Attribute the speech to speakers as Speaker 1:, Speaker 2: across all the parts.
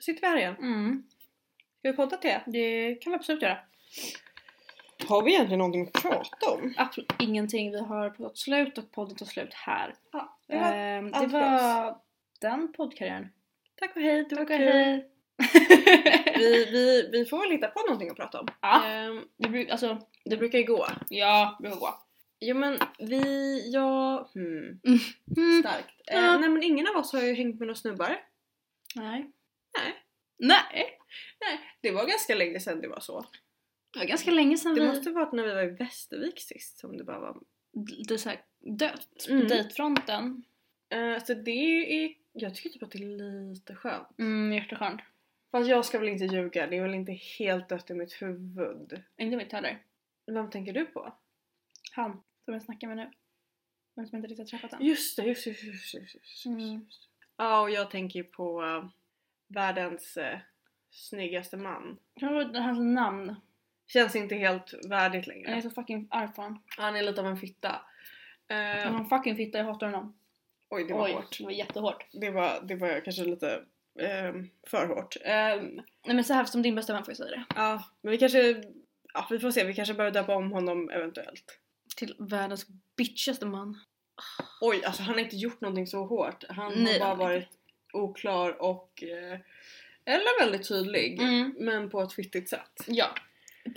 Speaker 1: sitter vi här igen.
Speaker 2: Mm.
Speaker 1: Ska vi podda till det? Det kan vi absolut göra.
Speaker 3: Har vi egentligen någonting att prata om?
Speaker 2: Absolut ingenting. Vi har pratat slut och podden tar slut här.
Speaker 1: Ja, det var...
Speaker 2: Ehm, det
Speaker 1: allt för
Speaker 2: var den poddkarriären.
Speaker 1: Tack och hej, det var
Speaker 2: Tack och
Speaker 1: kul.
Speaker 2: hej.
Speaker 1: Vi, vi, vi får väl hitta på någonting att prata om.
Speaker 2: Ja.
Speaker 1: Ehm,
Speaker 2: Det brukar, alltså,
Speaker 1: det brukar ju gå.
Speaker 2: ja, det brukar gå.
Speaker 1: Jo men vi, ja, hmm,
Speaker 2: Mm.
Speaker 1: starkt.
Speaker 2: Ja.
Speaker 1: Eh, nej men ingen av oss har ju hängt med några snubbar.
Speaker 2: Nej.
Speaker 1: Nej.
Speaker 2: Nej.
Speaker 1: Det var ganska länge sedan det var så.
Speaker 2: Det var ganska länge sedan
Speaker 1: Det
Speaker 2: vi...
Speaker 1: måste varit när vi var i Västervik sist som det bara var.
Speaker 2: Det är såhär dött på
Speaker 1: Mm.
Speaker 2: dejtfronten.
Speaker 1: Eh, så det är, jag tycker typ att det är lite skönt.
Speaker 2: Mm, hjärteskönt.
Speaker 1: Fast jag ska väl inte ljuga, det är väl inte helt dött i mitt huvud.
Speaker 2: Inte mitt heller.
Speaker 1: Vem tänker du på?
Speaker 2: Han som jag snackar med nu. Men som jag inte riktigt har träffat än.
Speaker 1: Just det, just det, just det, just det, just det.
Speaker 2: Mm.
Speaker 1: Ja, och jag tänker ju på eh, världens eh, snyggaste man.
Speaker 2: Kan du ihåg hans namn?
Speaker 1: Känns inte helt värdigt längre.
Speaker 2: Jag är så fucking arg på honom.
Speaker 1: Han är lite av en fitta. Eh,
Speaker 2: Han är en fucking fitta, jag hatar honom.
Speaker 1: Oj, det var
Speaker 2: Oj,
Speaker 1: hårt.
Speaker 2: det var jättehårt.
Speaker 1: Det var, det var kanske lite ehm, för hårt. Ehm,
Speaker 2: Nej men så här som din bästa vän får jag säga det.
Speaker 1: ja, men vi kanske... Ja, vi får se, vi kanske behöver döpa om honom eventuellt.
Speaker 2: Till världens bitchigaste man.
Speaker 1: Oj, alltså han har inte gjort någonting så hårt. Han har
Speaker 2: Nej,
Speaker 1: bara
Speaker 2: han har
Speaker 1: varit oklar och... eh, eller väldigt tydlig.
Speaker 2: Mm.
Speaker 1: Men på ett fittigt sätt.
Speaker 2: Ja,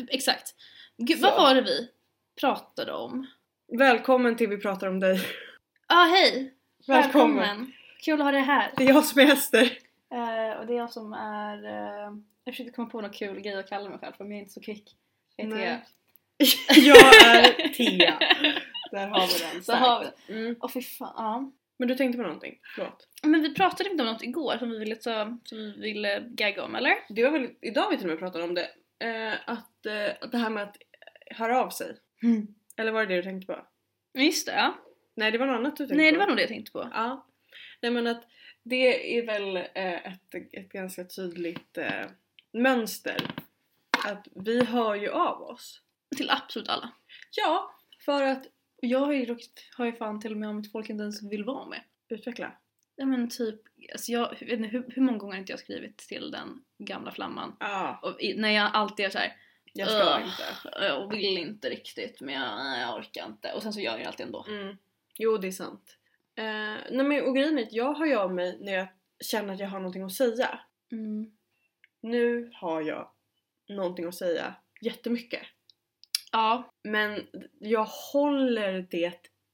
Speaker 2: exakt. Gud,
Speaker 1: Så.
Speaker 2: vad var det vi pratade om?
Speaker 1: Välkommen till Vi pratar om dig.
Speaker 2: Ja, ah, hej!
Speaker 1: Välkommen.
Speaker 2: Kul att ha dig här.
Speaker 1: Det är jag som är Ester.
Speaker 2: Eh, och det är jag som är... eh, jag försökte komma på någon kul grej att kalla mig själv för men jag är inte så kvick. Jag heter
Speaker 1: Nej.
Speaker 2: jag.
Speaker 1: jag är Tia. Där har vi den.
Speaker 2: Så har vi
Speaker 1: Starkt. Mm.
Speaker 2: Åh fy fan. ja.
Speaker 1: Men du tänkte på någonting? Förlåt.
Speaker 2: Men vi pratade inte om något igår som vi ville, ta, som vi ville gagga om eller?
Speaker 1: Det var väl idag vi till och med pratade om det. Eh, att, eh, att det här med att höra av sig.
Speaker 2: Mm.
Speaker 1: Eller var det det du tänkte på?
Speaker 2: Just det, ja.
Speaker 1: Nej det var något annat du tänkte
Speaker 2: Nej
Speaker 1: på.
Speaker 2: det var nog det jag tänkte på.
Speaker 1: Ja. Nej men att det är väl eh, ett, ett ganska tydligt eh, mönster. Att vi hör ju av oss.
Speaker 2: Till absolut alla.
Speaker 1: Ja, för att
Speaker 2: Och jag har ju, råkat- har ju fan till och med om att folk inte ens vill vara med.
Speaker 1: utveckla.
Speaker 2: Ja men typ, alltså jag vet inte hur, hur många gånger har inte jag skrivit till den gamla flamman.
Speaker 1: Ja,
Speaker 2: Och i, när jag alltid är såhär,
Speaker 1: Ah, jag ska
Speaker 2: Ugh.
Speaker 1: inte.
Speaker 2: jag vill inte riktigt men jag, jag orkar inte. Och sen så gör jag det alltid ändå.
Speaker 1: Mm. Jo, det är sant. Eh, nej men och grejen är att jag har ju av mig när jag känner att jag har någonting att säga.
Speaker 2: Mm.
Speaker 1: Nu har jag någonting att säga jättemycket.
Speaker 2: Ja,
Speaker 1: Men jag håller det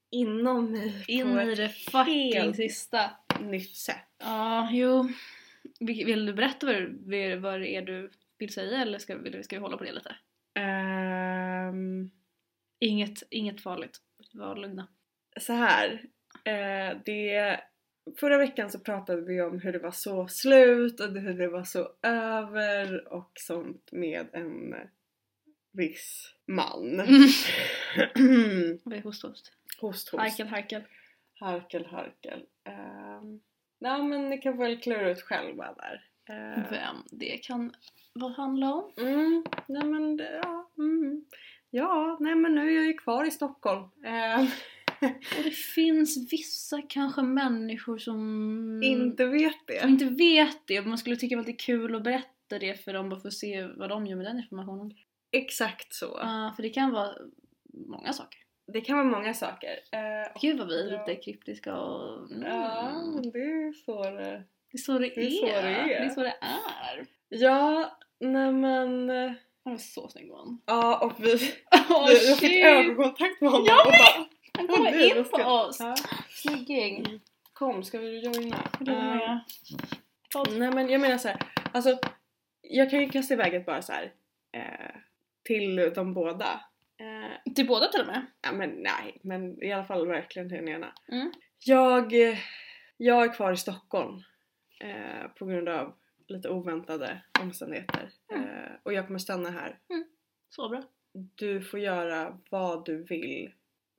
Speaker 1: inom mig
Speaker 2: in
Speaker 1: på
Speaker 2: i
Speaker 1: ett
Speaker 2: det fucking
Speaker 1: helt-
Speaker 2: sista.
Speaker 1: nytt sätt.
Speaker 2: Ja, jo. Vill vill du berätta vad, du- vad det är du vill säga eller ska, vill- ska vi hålla på det lite?
Speaker 1: Ehm,
Speaker 2: Inget, inget farligt. Var lugna.
Speaker 1: så här. Eh, det, förra veckan så pratade vi om hur det var så slut och hur det var så över och sånt med en viss man.
Speaker 2: Vad är host host?
Speaker 1: host, host.
Speaker 2: Mm. Harkel harkel.
Speaker 1: Harkel, harkel. Um, nej men ni kan väl klura ut själva där. Ehm,
Speaker 2: Vem det kan vad handla om?
Speaker 1: Mm, nej men det- ja, mm. ja, nej men nu är jag ju kvar i Stockholm. Ehm,
Speaker 2: Och det finns vissa kanske människor som
Speaker 1: Inte vet
Speaker 2: som
Speaker 1: det.
Speaker 2: Mm. inte vet det. Man skulle tycka det var lite kul att berätta det för dem bara för att se vad de gör med den informationen.
Speaker 1: Exakt så.
Speaker 2: Ja, för det kan vara många saker.
Speaker 1: Det kan vara många saker. Ehm,
Speaker 2: Gud vad vi är
Speaker 1: Ja.
Speaker 2: lite kryptiska och... Mm.
Speaker 1: Ja, eh, det är så det
Speaker 2: Det är så det,
Speaker 1: Det är så
Speaker 2: är.
Speaker 1: det är.
Speaker 2: Det är så det är.
Speaker 1: Ja, nej men... eh,
Speaker 2: Han var så snygg var han.
Speaker 1: Ja, och vi...
Speaker 2: Åh
Speaker 1: vi jag fick
Speaker 2: shit!
Speaker 1: ögonkontakt med honom
Speaker 2: Jag
Speaker 1: och bara...
Speaker 2: Han
Speaker 1: "Åh,
Speaker 2: kommer
Speaker 1: nej,
Speaker 2: in
Speaker 1: vad
Speaker 2: på
Speaker 1: ska-"
Speaker 2: oss!
Speaker 1: Ja.
Speaker 2: Snygging!
Speaker 1: Kom, ska vi joina? Ehm,
Speaker 2: Ehm,
Speaker 1: Nej men jag menar så här, alltså jag kan ju kasta iväg ett bara så här eh, till de båda. Eh,
Speaker 2: Till båda till och med.
Speaker 1: ja men nej, men i alla fall verkligen till den ena.
Speaker 2: Mm.
Speaker 1: Jag, eh, jag är kvar i Stockholm eh, på grund av lite oväntade omständigheter
Speaker 2: Mm.
Speaker 1: eh, och jag kommer stanna här.
Speaker 2: Så bra.
Speaker 1: Du får göra vad du vill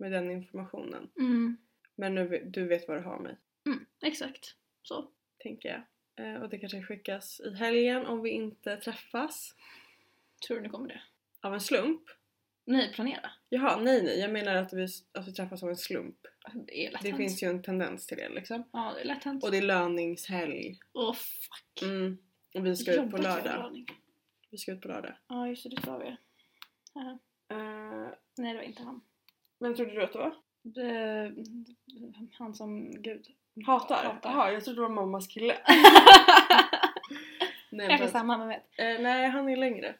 Speaker 1: med den informationen.
Speaker 2: Mm,
Speaker 1: Men nu, du vet vad du har mig,
Speaker 2: mm, exakt. Så.
Speaker 1: tänker jag. Eh, och det kanske skickas i helgen om vi inte träffas.
Speaker 2: Tror du nu kommer det?
Speaker 1: Av en slump.
Speaker 2: Nej, planera.
Speaker 1: Jaha, nej nej. Jag menar att vi, att vi träffas av en slump.
Speaker 2: Alltså, Det är lätt
Speaker 1: Det
Speaker 2: hänt.
Speaker 1: finns ju en tendens till det liksom.
Speaker 2: Ja, det är lätt hänt.
Speaker 1: Och det är löningshelg.
Speaker 2: Åh fuck.
Speaker 1: Mm. Och vi ska ut på
Speaker 2: Jobbat jävla
Speaker 1: lördag.
Speaker 2: aning.
Speaker 1: Vi ska ut på lördag.
Speaker 2: Ja just det, det sa vi. Haha. Nej det var inte han.
Speaker 1: vem Eh, trodde du att det var?
Speaker 2: Det, han som gud.
Speaker 1: Hatar?
Speaker 2: Hatar.
Speaker 1: Jaha, jag trodde det var mammas kille. Nej,
Speaker 2: Kanske
Speaker 1: men-
Speaker 2: samma, men vet.
Speaker 1: Eh, nej, han är längre.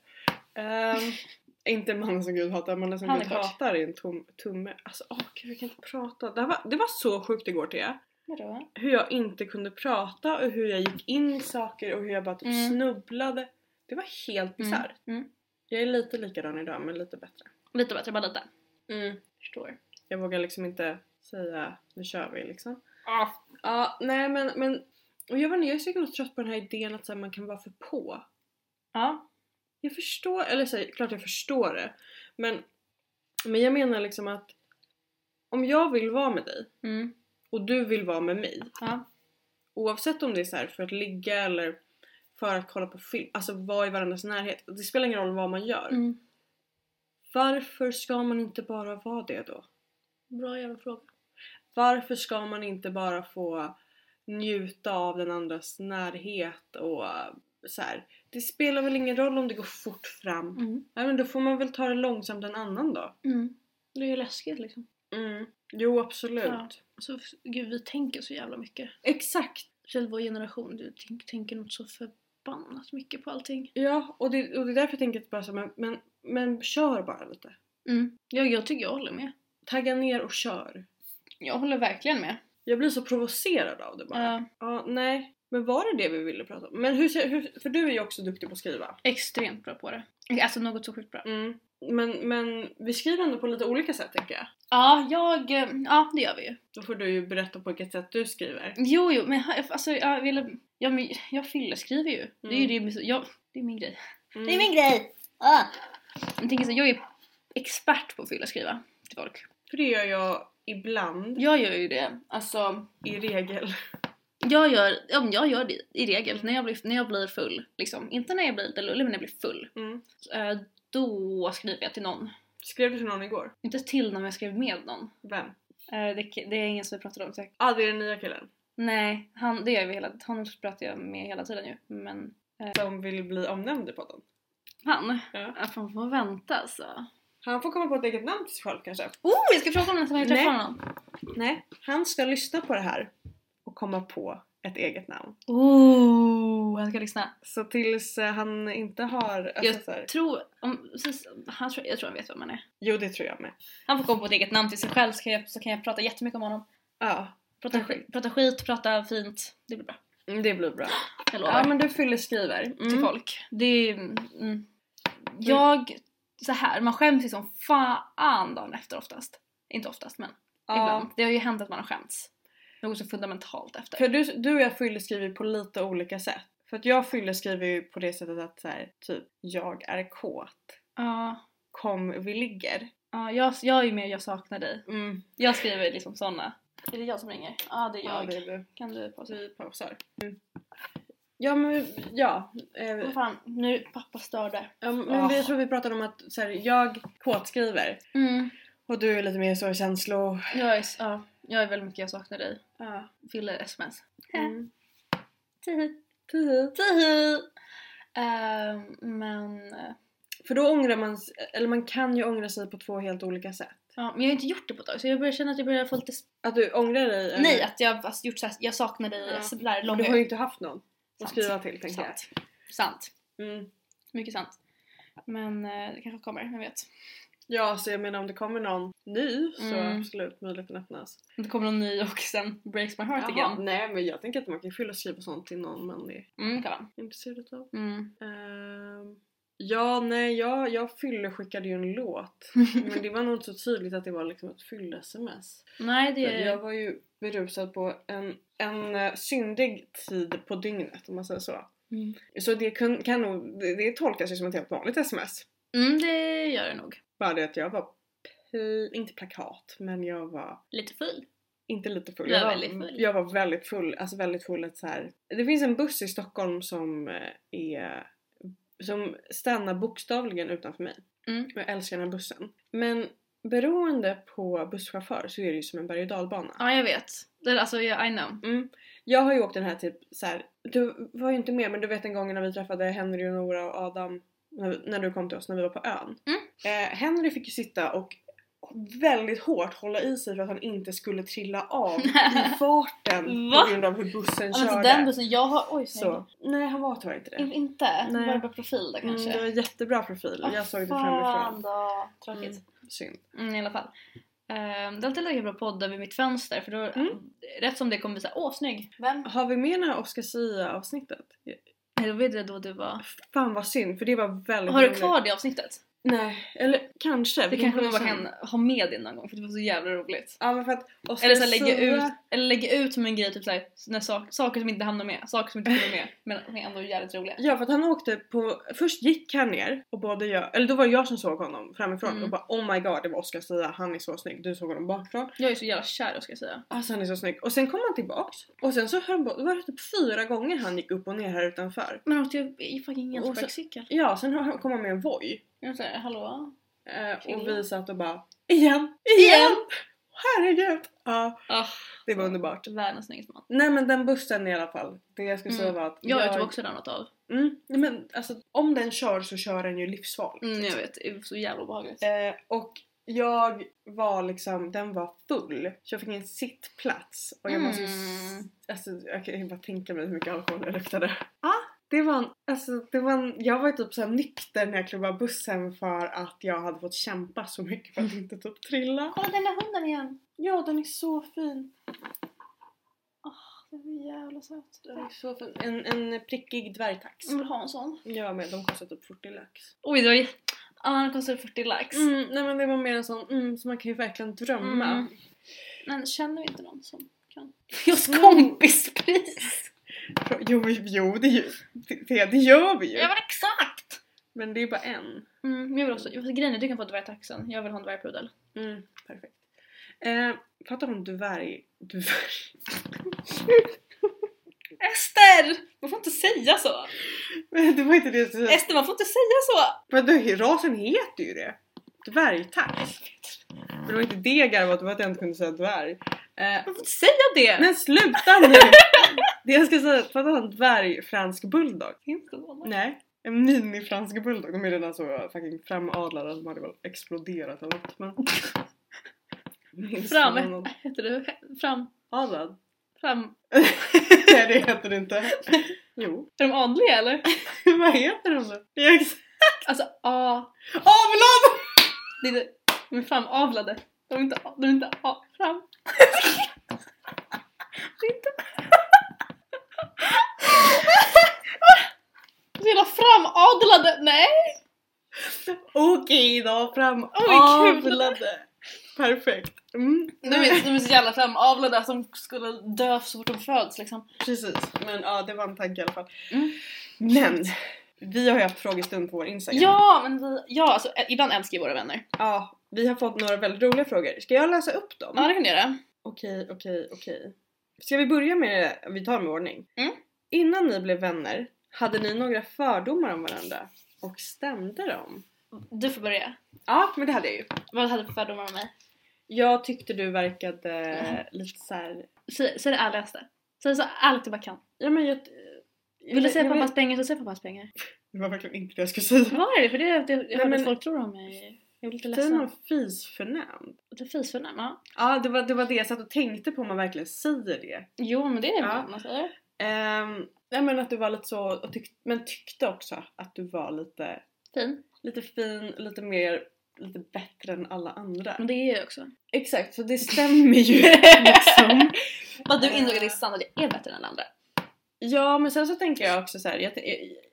Speaker 1: Ehm, inte mannen som Gud hatar, mannen som
Speaker 2: Han är
Speaker 1: Gud
Speaker 2: kort.
Speaker 1: hatar är en tom, tumme. Alltså åh gud, jag kan inte prata. Det, här var, det var så sjukt igår Thea.
Speaker 2: Vadå?
Speaker 1: Hur jag inte kunde prata och hur jag gick in i saker och hur jag bara typ
Speaker 2: Mm.
Speaker 1: snubblade. Det var helt bisarrt.
Speaker 2: Mm.
Speaker 1: Jag är lite likadan idag men lite bättre.
Speaker 2: Lite bättre, bara lite.
Speaker 1: Mm.
Speaker 2: Förstår.
Speaker 1: Jag vågar liksom inte säga nu kör vi liksom.
Speaker 3: Ah,
Speaker 1: Ja, nej men, men och jag, vet inte, jag är så himla trött på den här idén att så här, man kan vara för på.
Speaker 2: Ja.
Speaker 1: Jag förstår, eller så här, klart jag förstår det. Men, men jag menar liksom att om jag vill vara med dig
Speaker 2: Mm.
Speaker 1: och du vill vara med mig.
Speaker 2: Ja.
Speaker 1: Oavsett om det är så här för att ligga eller för att kolla på film. Alltså vara i varandras närhet. Det spelar ingen roll vad man gör.
Speaker 2: Mm.
Speaker 1: Varför ska man inte bara vara det då?
Speaker 2: Bra jävla fråga.
Speaker 1: Varför ska man inte bara få njuta av den andras närhet och eh, så här. Det spelar väl ingen roll om det går fort fram.
Speaker 2: Mm.
Speaker 1: Nej men då får man väl ta det långsamt en annan dag.
Speaker 2: Mm. Det är ju läskigt liksom.
Speaker 1: Mm. Jo, absolut.
Speaker 2: Ja. Så, gud, vi tänker så jävla mycket.
Speaker 1: Exakt!
Speaker 2: Speciellt vår generation, du tänk, tänker något så förbannat mycket på allting.
Speaker 1: Ja, och det, och det är därför jag tänker att bara så, här, men, men, men kör bara lite.
Speaker 2: Mm. Ja, jag tycker jag håller med.
Speaker 1: Tagga ner och kör.
Speaker 2: Jag håller verkligen med.
Speaker 1: Jag blir så provocerad av det bara. Ja,
Speaker 2: Ja.
Speaker 1: nej. Men var det det vi ville prata om? Men hur, ser- hur, för du är ju också duktig på att skriva.
Speaker 2: extremt bra på det. Alltså något så sjukt bra.
Speaker 1: Mm. Men, men vi skriver ändå på lite olika sätt tänker jag.
Speaker 2: Ja, jag... eh, Ja, det gör vi ju.
Speaker 1: Då får du ju berätta på vilket sätt du skriver.
Speaker 2: Jo, jo, men ha- alltså jag ville... Ja, men jag fylleskriver ju. Det är ju
Speaker 1: Mm.
Speaker 2: det, jag, det är min grej.
Speaker 1: Mm.
Speaker 2: grej! Ah. Jag tänker så, här, jag är expert på att fylleskriva till folk.
Speaker 1: För det gör jag ibland,
Speaker 2: Jag gör ju det, alltså...
Speaker 1: i regel.
Speaker 2: Jag gör, ja, men jag gör det i regel när jag blir, när jag blir full. Liksom. Inte när jag blir lite lullig, men när jag blir full.
Speaker 1: Mm.
Speaker 2: Så, eh, Då skriver jag till någon.
Speaker 1: Skrev du till någon igår?
Speaker 2: Inte till någon, men jag skrev med någon.
Speaker 1: Vem?
Speaker 2: Eh, Det, det är ingen som vi pratade om säkert.
Speaker 1: Ah, det är den nya killen.
Speaker 2: Nej, han, det gör vi hela Honom pratar jag med hela tiden ju. Men
Speaker 1: Som vill bli omnämnd i podden.
Speaker 2: han,
Speaker 1: Ja.
Speaker 2: ja. fan får vänta alltså.
Speaker 1: Han får komma på ett eget namn till sig själv kanske.
Speaker 2: Oh, jag ska fråga om nästa gång jag träffar
Speaker 1: Nej.
Speaker 2: honom.
Speaker 1: Nej, han ska lyssna på det här och komma på ett eget namn.
Speaker 2: Oh, han ska lyssna.
Speaker 1: Så tills eh, han inte har... Alltså,
Speaker 2: Jag
Speaker 1: så här,
Speaker 2: tror, om, precis, han, tror- jag tror han vet vem han är.
Speaker 1: jo, det tror jag med.
Speaker 2: Han får komma på ett eget namn till sig själv så kan jag, så kan jag prata jättemycket om honom.
Speaker 1: Ja,
Speaker 2: Prata, skit- prata skit, prata fint. Det blir bra.
Speaker 1: mm, det blir bra.
Speaker 2: Jag lovar.
Speaker 1: Ja, men du fyller skriver. Mm.
Speaker 2: Till folk. Det är... Mm. Jag, så här, man skäms ju som fan dagen efter oftast. Inte oftast men.
Speaker 1: Ja.
Speaker 2: Ibland. Det har ju hänt att man har skämts. Något så fundamentalt efter.
Speaker 1: För du, du och jag fyller skriver på lite olika sätt. För att jag fyller skriver ju på det sättet att så här, typ jag är kåt.
Speaker 2: Ja,
Speaker 1: Kom vi ligger.
Speaker 2: ja, jag, jag är ju med jag saknar dig.
Speaker 1: Mm.
Speaker 2: Jag skriver liksom såna. Är det jag som ringer? Ja, det är
Speaker 1: Ja,
Speaker 2: jag.
Speaker 1: det är du.
Speaker 2: Kan du pausa?
Speaker 1: Vi pausar. Ja men ja. Eh,
Speaker 2: Vad fan, nu pappa störde.
Speaker 1: ja, men vi, jag tror vi pratade om att så här, jag kåtskriver
Speaker 2: Mm.
Speaker 1: och du är lite mer så känslo...
Speaker 2: Jag är, s- ja, jag är väldigt mycket jag saknar dig.
Speaker 1: Ja.
Speaker 2: Fyller sms.
Speaker 1: Mm.
Speaker 2: Tihi.
Speaker 1: Precis.
Speaker 2: Tihi. Ehm, men... eh,
Speaker 1: För då ångrar man, s- eller man kan ju ångra sig på två helt olika sätt.
Speaker 2: Ja, men jag har inte gjort det på ett tag så jag börjar känna att jag börjar få lite... sp- Eh.
Speaker 1: Att du ångrar dig? eller-
Speaker 2: Nej, att jag har gjort såhär, jag saknar dig
Speaker 1: Ja.
Speaker 2: sådär
Speaker 1: För
Speaker 2: långa...
Speaker 1: Du har ju inte haft någon att
Speaker 2: Sant.
Speaker 1: skriva till tänker jag.
Speaker 2: Sant. Sant.
Speaker 1: Mm.
Speaker 2: Mycket sant. Men eh, det kanske kommer, vem vet.
Speaker 1: Ja, så jag menar om det kommer någon ny så
Speaker 2: Mm.
Speaker 1: absolut möjligheten öppnas.
Speaker 2: Om Det kommer någon ny och sen breaks my heart again.
Speaker 1: nej men jag tänker att man kan fylla och skriva sånt till någon man är
Speaker 2: Mm, kan man.
Speaker 1: intresserad utav.
Speaker 2: Mm.
Speaker 1: Ehm, ja, nej jag, jag fyller skickade ju en låt. men det var nog inte så tydligt att det var liksom ett fyll-sms.
Speaker 2: Nej,
Speaker 1: För
Speaker 2: det är...
Speaker 1: Jag var ju berusad på en, en eh, syndig tid på dygnet om man säger så.
Speaker 2: Mm.
Speaker 1: Så det kan, kan nog, det, det tolkas ju som ett helt vanligt sms.
Speaker 2: Mm, det gör det nog.
Speaker 1: Bara det att jag var, pl- inte plakat, men jag var
Speaker 2: Lite full.
Speaker 1: inte lite full.
Speaker 2: Du var
Speaker 1: var
Speaker 2: väldigt full.
Speaker 1: Jag var väldigt full, alltså väldigt full att så här. Det finns en buss i Stockholm som eh, är som stannar bokstavligen utanför mig.
Speaker 2: Mm.
Speaker 1: Och jag älskar den här bussen. Men beroende på busschaufför så är det ju som en berg och dalbana.
Speaker 2: Ja, jag vet. Det, alltså, jag, I know.
Speaker 1: Mm. Jag har ju åkt den här typ så här. du var ju inte med men du vet en gång när vi träffade Henry och Nora och Adam när, när du kom till oss när vi var på ön.
Speaker 2: Mm.
Speaker 1: Eh, Henry fick ju sitta och väldigt hårt hålla i sig för att han inte skulle trilla av i farten
Speaker 2: Va?
Speaker 1: på grund av hur bussen
Speaker 2: Ja, men så
Speaker 1: körde.
Speaker 2: Alltså, den bussen, jag har... Oj, så.
Speaker 1: så. Nej han var tyvärr inte det.
Speaker 2: Inte?
Speaker 1: Nej.
Speaker 2: Var det bara profil där
Speaker 1: Mm,
Speaker 2: kanske?
Speaker 1: det var jättebra profil,
Speaker 2: Ah,
Speaker 1: jag såg det
Speaker 2: Fan
Speaker 1: framifrån.
Speaker 2: då. Tråkigt.
Speaker 1: Mm. Synd.
Speaker 2: Mm, I alla fall. Um, det är alltid lika bra att podda vid mitt fönster för då,
Speaker 1: Mm.
Speaker 2: rätt som det kommer vi säga åh snygg. Vem?
Speaker 1: Har vi med det här Oscar Sia avsnittet?
Speaker 2: Då vet jag då du var.
Speaker 1: Fan vad synd för det var väldigt
Speaker 2: Har du
Speaker 1: roligt.
Speaker 2: kvar det avsnittet?
Speaker 1: Nej, eller kanske.
Speaker 2: Det
Speaker 1: Vi
Speaker 2: kanske man
Speaker 1: får
Speaker 2: bara
Speaker 1: se.
Speaker 2: kan ha med det någon gång för det var så jävla roligt.
Speaker 1: Ja men för att Oscar
Speaker 2: Eller Alltså, så här, lägga
Speaker 1: Sia-
Speaker 2: ut, eller lägga ut som en grej typ såhär, när sak, saker som inte hamnar med, saker som inte kommer med men som är ändå jävligt roliga.
Speaker 1: Ja för att han åkte på, först gick han ner och både jag, eller då var det jag som såg honom framifrån
Speaker 2: Mm.
Speaker 1: och bara oh my god det var Oscar Sia, han är så snygg. Du såg honom bakifrån.
Speaker 2: Jag är så jävla kär ska jag säga.
Speaker 1: Alltså han är så snygg. Och sen kom han tillbaks och sen så höll han på, det var typ fyra gånger han gick upp och ner här utanför.
Speaker 2: Men åkte jag i fucking
Speaker 1: Och så-
Speaker 2: elsparkcykel?
Speaker 1: Ja sen har han- kom han med en voj.
Speaker 2: Jag säger hallå?
Speaker 1: Eh, och
Speaker 2: Kul.
Speaker 1: vi satt och bara igen, igen!
Speaker 2: Igen!
Speaker 1: Herregud! Ja,
Speaker 2: Ah,
Speaker 1: det var underbart.
Speaker 2: världens snyggaste man.
Speaker 1: Nej men den bussen i alla fall. Det jag skulle
Speaker 2: Mm.
Speaker 1: säga var att
Speaker 2: Jag, jag tog också den något av.
Speaker 1: Mm, nej, men alltså om den kör så kör den ju livsfarligt. liksom.
Speaker 2: Mm, jag vet, det är så jävla obehagligt.
Speaker 1: Eh, och jag var liksom, den var full. Så jag fick en sittplats. Och jag måste ju... s-
Speaker 2: Mm.
Speaker 1: Alltså jag kan ju bara tänka mig hur mycket alkohol det luktade. Ah, det var en, alltså det var en, jag var ju typ såhär nykter när jag klev av bussen för att jag hade fått kämpa så mycket för att inte typ trilla.
Speaker 2: Kolla den där hunden igen!
Speaker 1: Ja den är så fin.
Speaker 2: Den Alltså, är jävla söt.
Speaker 1: Den är så fin. En, en prickig dvärgtax.
Speaker 2: Jag vill ha en sån.
Speaker 1: Jag med, Mm. de kostar typ 40 lax.
Speaker 2: Oj, det var ju... Ja, den kostar 40 lax.
Speaker 1: Mm, nej men det var mer en sån mm, så man kan ju verkligen drömma.
Speaker 2: Mm. Men känner vi inte någon som kan? Mm. Just kompispris!
Speaker 1: Jo, jo det, ju- det, det gör vi ju.
Speaker 2: Ja men exakt!
Speaker 1: Men det är bara en.
Speaker 2: Mm, men jag vill också, grejen är du kan få dvärgtaxen, jag vill ha en dvärgpudel.
Speaker 1: Mm, perfekt. Eh, prata om dvärg... Dvärg?
Speaker 2: Ester! Man får inte säga så!
Speaker 1: Men det var inte det som...
Speaker 2: Ester man får inte säga så!
Speaker 1: Vadå, rasen heter ju det! Dvärgtax. Men det var inte det jag garvade åt, det var att jag inte kunde säga dvärg. Eh,
Speaker 2: Man får inte säga det!
Speaker 1: men sluta nu! det jag ska säga, prata om dvärgfransk bulldog.
Speaker 2: Finns det någon?
Speaker 1: Nej. En mini-fransk bulldog. De är redan så fucking framadlade att de hade väl exploderat eller något. Men... Minns
Speaker 2: Fram-
Speaker 1: man någon
Speaker 2: Heter du fram...
Speaker 1: Adlad?
Speaker 2: fram...
Speaker 1: Nej det heter det inte. Jo.
Speaker 2: Är de adliga eller?
Speaker 1: Vad heter de då? Jag är ex-
Speaker 2: Alltså A...
Speaker 1: Avlad!
Speaker 2: Det är det. De är framavlade. De är inte, de är inte a, fram. Det är inte... Så jävla framadlade! Nej!
Speaker 1: Okej då,
Speaker 2: Oj, kul.
Speaker 1: framadlade. Perfekt. Mm.
Speaker 2: De är, de är så jävla framavlade som skulle dö så fort de föds liksom.
Speaker 1: Precis, men ja det var en tanke i alla fall.
Speaker 2: Mm.
Speaker 1: Men! Vi har ju haft frågestund på vår Instagram.
Speaker 2: Ja, men vi, ja alltså ä- ibland älskar ju våra vänner.
Speaker 1: ja! Vi har fått några väldigt roliga frågor. Ska jag läsa upp dem?
Speaker 2: Ja det kan du göra.
Speaker 1: Okej, okej, okej. Ska vi börja med, vi tar med ordning.
Speaker 2: Mm.
Speaker 1: Innan ni blev vänner, hade ni några fördomar om varandra? Och stämde de?
Speaker 2: Du får börja.
Speaker 1: Ja, men det hade jag ju.
Speaker 2: Vad hade du för fördomar om mig?
Speaker 1: Jag tyckte du verkade eh, lite så här.
Speaker 2: Säg, säg det ärligaste. Säg så ärligt du bara kan.
Speaker 1: Ja, men jag... eh,
Speaker 2: Vill du säga
Speaker 1: jag vet-
Speaker 2: pappas pengar så säg pappas pengar.
Speaker 1: Det var verkligen inte det jag skulle säga.
Speaker 2: Vad är det? För det är det jag hörde
Speaker 1: men-
Speaker 2: folk tror om mig. Jag blir lite
Speaker 1: Säger
Speaker 2: ledsen.
Speaker 1: man fisförnämnd?
Speaker 2: Det fisförnäm, ja.
Speaker 1: Ja, det var, det var det jag satt och tänkte på om man verkligen säger det.
Speaker 2: Jo men det är det
Speaker 1: Ja.
Speaker 2: väl man säger.
Speaker 1: Ehm, nej men att du var lite så, och tyck, men tyckte också att du var lite,
Speaker 2: Fin.
Speaker 1: lite fin, lite mer, lite bättre än alla andra.
Speaker 2: Men det är jag också.
Speaker 1: Exakt, så det stämmer ju liksom.
Speaker 2: Vad du insåg att det är sant att jag är bättre än alla andra.
Speaker 1: Ja men sen så tänker jag också så här. Jag,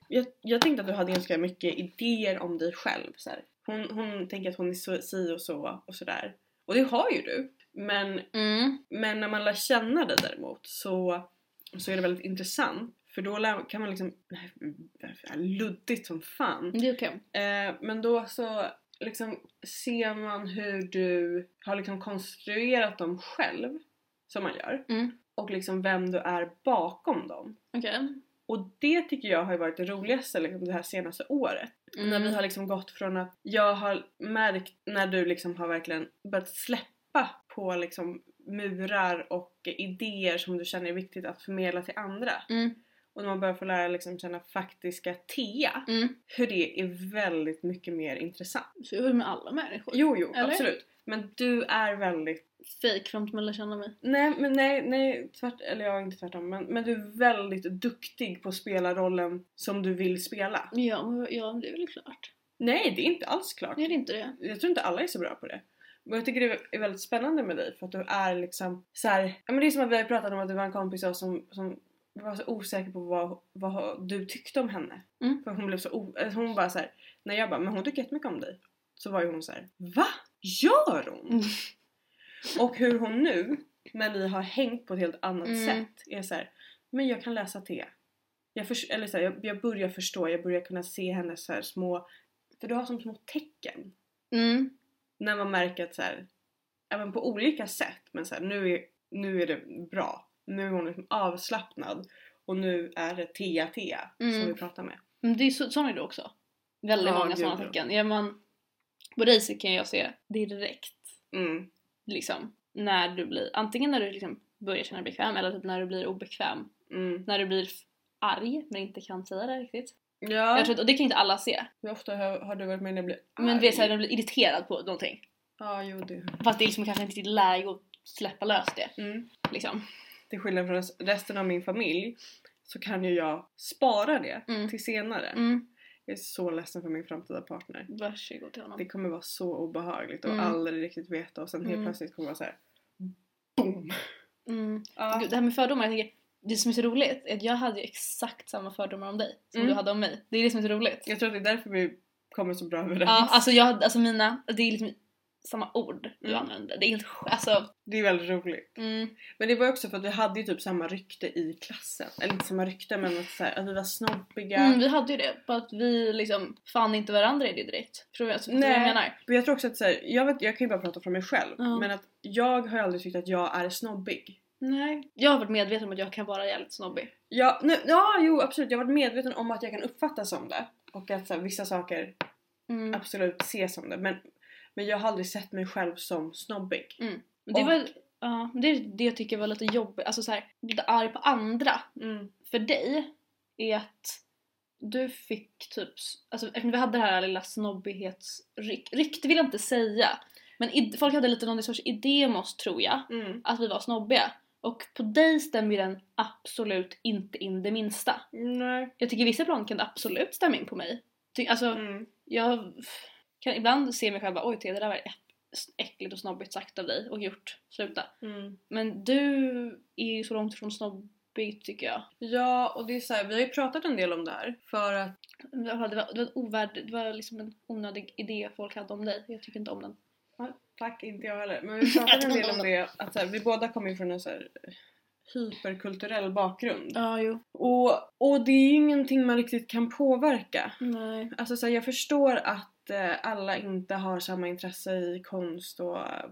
Speaker 1: jag, jag tänkte att du hade ganska mycket idéer om dig själv. Så här. Hon, hon tänker att hon är så, si och så och sådär. Och det har ju du. Men,
Speaker 2: Mm.
Speaker 1: men när man lär känna dig däremot så, så är det väldigt intressant. För då lär, kan man liksom, luddigt som fan.
Speaker 2: Det är okej.
Speaker 1: Eh, men då så liksom ser man hur du har liksom konstruerat dem själv, som man gör,
Speaker 2: Mm.
Speaker 1: och liksom vem du är bakom dem.
Speaker 2: Okej.
Speaker 1: Och det tycker jag har ju varit det roligaste liksom, det här senaste året.
Speaker 2: Mm.
Speaker 1: När vi har liksom gått från att jag har märkt när du liksom har verkligen börjat släppa på liksom murar och idéer som du känner är viktigt att förmedla till andra.
Speaker 2: Mm.
Speaker 1: Och när man börjar få lära liksom känna faktiska TEA,
Speaker 2: Mm.
Speaker 1: hur det är väldigt mycket mer intressant.
Speaker 2: Så är det med alla människor.
Speaker 1: Jo, jo,
Speaker 2: Eller?
Speaker 1: absolut. Men du är väldigt
Speaker 2: Fake för att de lär känna mig.
Speaker 1: Nej, men nej, nej, tvärt, eller jag är inte tvärtom. Men, men du är väldigt duktig på att spela rollen som du vill spela.
Speaker 2: Ja, men ja, det är väl klart.
Speaker 1: Nej, det är inte alls klart.
Speaker 2: Nej, det är inte det.
Speaker 1: Jag tror inte alla är så bra på det. Men jag tycker det är väldigt spännande med dig för att du är liksom så här, ja men det är som att vi har pratat om att du var en kompis till oss som, som var så osäker på vad, vad du tyckte om henne.
Speaker 2: Mm.
Speaker 1: För hon blev så o, alltså hon bara så här, när jag bara men hon tycker jättemycket om dig. Så var ju hon så här, VA? Gör hon?
Speaker 2: Mm.
Speaker 1: Och hur hon nu, när ni har hängt på ett helt annat
Speaker 2: Mm.
Speaker 1: sätt, är så här, men jag kan läsa te. Jag, förs- eller så här, jag, jag börjar förstå, jag börjar kunna se hennes så här små, för du har som små tecken
Speaker 2: Mm.
Speaker 1: när man märker att så här, även på olika sätt, men så här, nu, är, nu är det bra. Nu är hon liksom avslappnad och nu är det Tea Tea
Speaker 2: Mm.
Speaker 1: som vi pratar med.
Speaker 2: Men det är så, sån är du också. Väldigt
Speaker 1: Ja,
Speaker 2: många
Speaker 1: gud,
Speaker 2: sådana
Speaker 1: ja.
Speaker 2: tecken. Ja, men på dig så kan jag se direkt
Speaker 1: Mm.
Speaker 2: liksom när du blir, antingen när du liksom börjar känna dig bekväm eller typ när du blir obekväm.
Speaker 1: Mm.
Speaker 2: När du blir f- arg men inte kan säga det riktigt.
Speaker 1: Ja,
Speaker 2: Jag tror, att- och det kan inte alla se.
Speaker 1: hur ofta har, har du varit med när jag blir
Speaker 2: Men du vet såhär,
Speaker 1: arg?
Speaker 2: du blir irriterad på någonting.
Speaker 1: Ja, jo det.
Speaker 2: Fast det är liksom kanske inte ditt läge att släppa lös det.
Speaker 1: Mm.
Speaker 2: Liksom.
Speaker 1: Till skillnad från res- resten av min familj så kan ju jag spara det
Speaker 2: Mm.
Speaker 1: till senare.
Speaker 2: Mm.
Speaker 1: Jag är så ledsen för min framtida partner.
Speaker 2: Varsågod till honom.
Speaker 1: Det kommer vara så obehagligt och
Speaker 2: Mm.
Speaker 1: aldrig riktigt veta och sen helt
Speaker 2: Mm.
Speaker 1: plötsligt kommer det vara såhär BOOM!
Speaker 2: Mm.
Speaker 1: Ja.
Speaker 2: Gud, det här med fördomar, jag tänker, det som är så roligt är att jag hade ju exakt samma fördomar om dig som
Speaker 1: Mm.
Speaker 2: du hade om mig. Det är det som är så roligt.
Speaker 1: Jag tror att det är därför vi kommer så bra överens.
Speaker 2: Ja, alltså, jag, hade- alltså mina, det är liksom samma ord du
Speaker 1: Mm.
Speaker 2: använder. Det är helt sj- alltså,
Speaker 1: Det är väldigt roligt.
Speaker 2: mm,
Speaker 1: Men det var också för att vi hade ju typ samma rykte i klassen. Eller inte samma rykte men att, så här, att vi var snobbiga.
Speaker 2: mm, Vi hade ju det, bara att vi liksom fann inte varandra i det direkt. Tror jag, alltså, förstår du vad jag
Speaker 1: Nej.
Speaker 2: menar?
Speaker 1: Men jag tror också att så här, jag, vet, jag kan ju bara prata för mig själv.
Speaker 2: Ja.
Speaker 1: Men att jag har ju aldrig tyckt att jag är snobbig.
Speaker 2: Nej. Jag har varit medveten om att jag kan vara jävligt snobbig.
Speaker 1: Jag, nu, ja, jo absolut. Jag har varit medveten om att jag kan uppfattas som det. Och att så här, vissa saker
Speaker 2: Mm.
Speaker 1: absolut ses som det. Men, men jag har aldrig sett mig själv som snobbig.
Speaker 2: Men Det
Speaker 1: Och-
Speaker 2: var ja, det, är det jag tycker var lite jobbigt, alltså så här, lite arg på andra
Speaker 1: Mm.
Speaker 2: för dig är att du fick typ, s- alltså eftersom vi hade det här lilla snobbighetsryck, rykte vill jag inte säga, men id, folk hade lite någon sorts idé om oss tror jag,
Speaker 1: Mm.
Speaker 2: att vi var snobbiga. Och på dig stämmer ju den absolut inte in det minsta.
Speaker 1: Nej.
Speaker 2: Jag tycker i vissa plan kan det absolut stämma in på mig. Ty, alltså
Speaker 1: Mm.
Speaker 2: jag kan ibland se mig själv bara oj Thea, det där var äck- äckligt och snobbigt sagt av dig och gjort, sluta.
Speaker 1: Mm.
Speaker 2: Men du är ju så långt ifrån snobbig tycker jag.
Speaker 1: Ja, och det är så här, vi har ju pratat en del om det här för att
Speaker 2: Det var, det var, det var, ovärd, det var liksom en onödig idé folk hade om dig. Jag tycker inte om den.
Speaker 1: Tack, inte jag heller. Men vi pratade en del om det att så här, vi båda kommer ju från en så här hyperkulturell bakgrund.
Speaker 2: Ja, jo.
Speaker 1: Och, och det är ju ingenting man riktigt kan påverka.
Speaker 2: Nej.
Speaker 1: Alltså så här, jag förstår att eh, alla inte har samma intresse i konst och eh,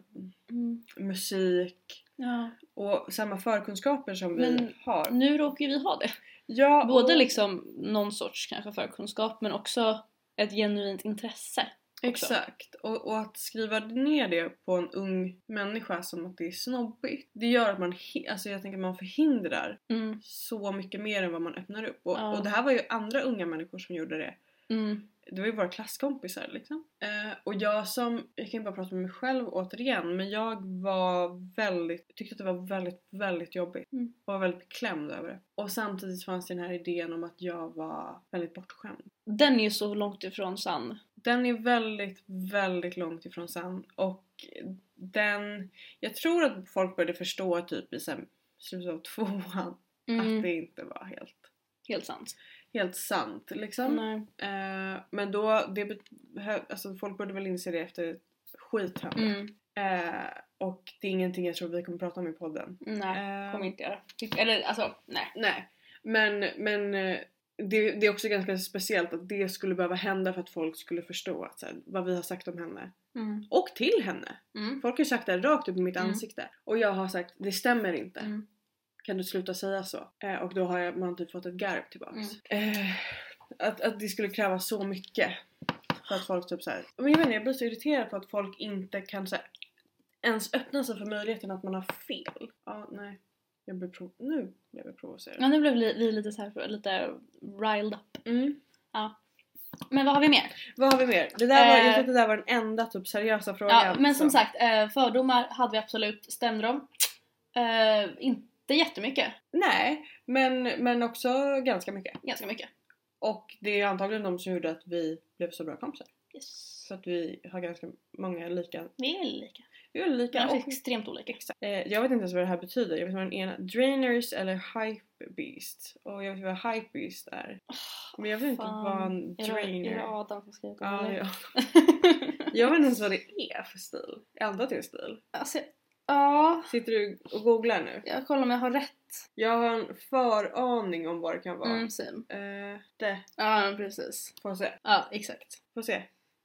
Speaker 2: Mm.
Speaker 1: musik
Speaker 2: Ja.
Speaker 1: och samma förkunskaper som
Speaker 2: Men-
Speaker 1: vi har.
Speaker 2: Nu råkar ju vi ha det.
Speaker 1: Ja,
Speaker 2: Både
Speaker 1: och,
Speaker 2: liksom någon sorts kanske förkunskap men också ett genuint intresse. också.
Speaker 1: Exakt. Och, och att skriva ner det på en ung människa som att det är snobbigt. Det gör att man, he- alltså jag tänker man förhindrar
Speaker 2: Mm.
Speaker 1: så mycket mer än vad man öppnar upp. Och,
Speaker 2: Ja.
Speaker 1: och det här var ju andra unga människor som gjorde det.
Speaker 2: Mm.
Speaker 1: Det var ju våra klasskompisar liksom. Eh, och jag som, jag kan ju bara prata med mig själv återigen, men jag var väldigt, tyckte att det var väldigt, väldigt jobbigt.
Speaker 2: Mm.
Speaker 1: Och var väldigt beklämd över det. Och samtidigt fanns det den här idén om att jag var väldigt bortskämd.
Speaker 2: Den är ju så långt ifrån sann.
Speaker 1: Den är väldigt, väldigt långt ifrån sann och den... Jag tror att folk började förstå typ i sen, slutet av tvåan att
Speaker 2: Mm.
Speaker 1: det inte var helt,
Speaker 2: Helt sant.
Speaker 1: helt sant liksom.
Speaker 2: Nej.
Speaker 1: Eh, men då, det behö- alltså folk började väl inse det efter skithände.
Speaker 2: Mm.
Speaker 1: Eh, och det är ingenting jag tror vi kommer prata om i podden.
Speaker 2: Nej.
Speaker 1: Eh,
Speaker 2: Kommer inte göra. Typ- Eller alltså, nej.
Speaker 1: Nej, men, men eh, det, det är också ganska speciellt att det skulle behöva hända för att folk skulle förstå att, så här, vad vi har sagt om henne.
Speaker 2: Mm.
Speaker 1: Och till henne!
Speaker 2: Mm.
Speaker 1: Folk har sagt det här rakt upp i mitt
Speaker 2: Mm.
Speaker 1: ansikte och jag har sagt det stämmer inte.
Speaker 2: Mm.
Speaker 1: Kan du sluta säga så? Eh, och då har jag, man typ fått ett garv tillbaks.
Speaker 2: Mm.
Speaker 1: Eh, att, att det skulle kräva så mycket. För att folk typ såhär, men jag vet inte, jag blir så irriterad på att folk inte kan såhär ens öppna sig för möjligheten att man har fel. Ja, nej. Jag blev prov- nu blev jag
Speaker 2: Ja,
Speaker 1: provocerad.
Speaker 2: nu blev li- vi lite så här, lite riled up.
Speaker 1: Mm.
Speaker 2: Men vad har vi mer?
Speaker 1: Vad har vi mer? Det där var, jag
Speaker 2: Eh.
Speaker 1: tror att det där var den enda typ seriösa frågan.
Speaker 2: Ja, men som sagt, eh, fördomar hade vi absolut. Stämde de? Eh, inte jättemycket.
Speaker 1: Nej, men, men också ganska mycket.
Speaker 2: Ganska mycket.
Speaker 1: Och det är antagligen de som gjorde att vi blev så bra kompisar.
Speaker 2: Yes.
Speaker 1: Så att vi har ganska många lika.
Speaker 2: Vi är lika.
Speaker 1: Vi är lika.
Speaker 2: Kanske
Speaker 1: Och,
Speaker 2: extremt olika.
Speaker 1: eh, jag vet inte ens vad det här betyder. Jag vet inte vad den ena... Drainers eller hypebeast. Och jag vet inte vad hypebeast är. Men jag vet inte
Speaker 2: Ah, fan.
Speaker 1: vad en
Speaker 2: Är det, är det
Speaker 1: drainer...
Speaker 2: Adam som skrivit
Speaker 1: Ja,
Speaker 2: den,
Speaker 1: det
Speaker 2: eller?
Speaker 1: är- Jag vet inte ens vad det är för stil. Ändå till stil.
Speaker 2: alltså, ja,
Speaker 1: Sitter du och googlar nu?
Speaker 2: jag kollar om jag har rätt.
Speaker 1: Jag har en föraning om vad det kan vara.
Speaker 2: Mm, same.
Speaker 1: Eh, det.
Speaker 2: Ja, precis.
Speaker 1: Får se.
Speaker 2: Ja, exakt.
Speaker 1: Får se.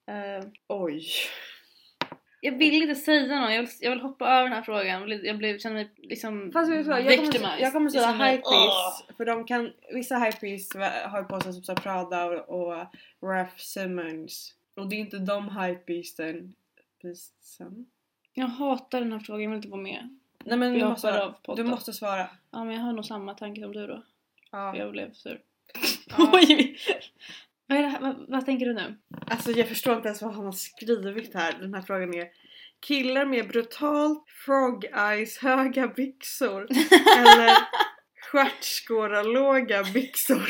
Speaker 2: Eh,
Speaker 1: Oj.
Speaker 2: jag vill inte säga något, jag vill, jag vill hoppa över den här frågan. Jag, blir- jag blev, känner mig liksom...
Speaker 1: Fast vet du vad? jag kommer,
Speaker 2: victimized.
Speaker 1: jag kommer säga
Speaker 2: Liksom,
Speaker 1: hypebeast. För de kan, vissa hypebeast har på sig som så här Prada och, och Ralph Simmons. Och det är inte de hypebeasten. Beastsen.
Speaker 2: Jag hatar den här frågan, jag vill inte vara med.
Speaker 1: Nej men
Speaker 2: Vi
Speaker 1: du
Speaker 2: hoppar
Speaker 1: måste, svara.
Speaker 2: av
Speaker 1: du
Speaker 2: podden.
Speaker 1: måste svara.
Speaker 2: Ja, men jag har nog samma tanke som du då.
Speaker 1: Ja.
Speaker 2: Jag blev sur.
Speaker 1: Ja.
Speaker 2: Oj! Vad, är det här? Vad, vad tänker du nu?
Speaker 1: Alltså jag förstår inte ens vad han har skrivit här. Den här frågan är Killar med brutalt frog eyes höga byxor eller stjärtskåra låga byxor?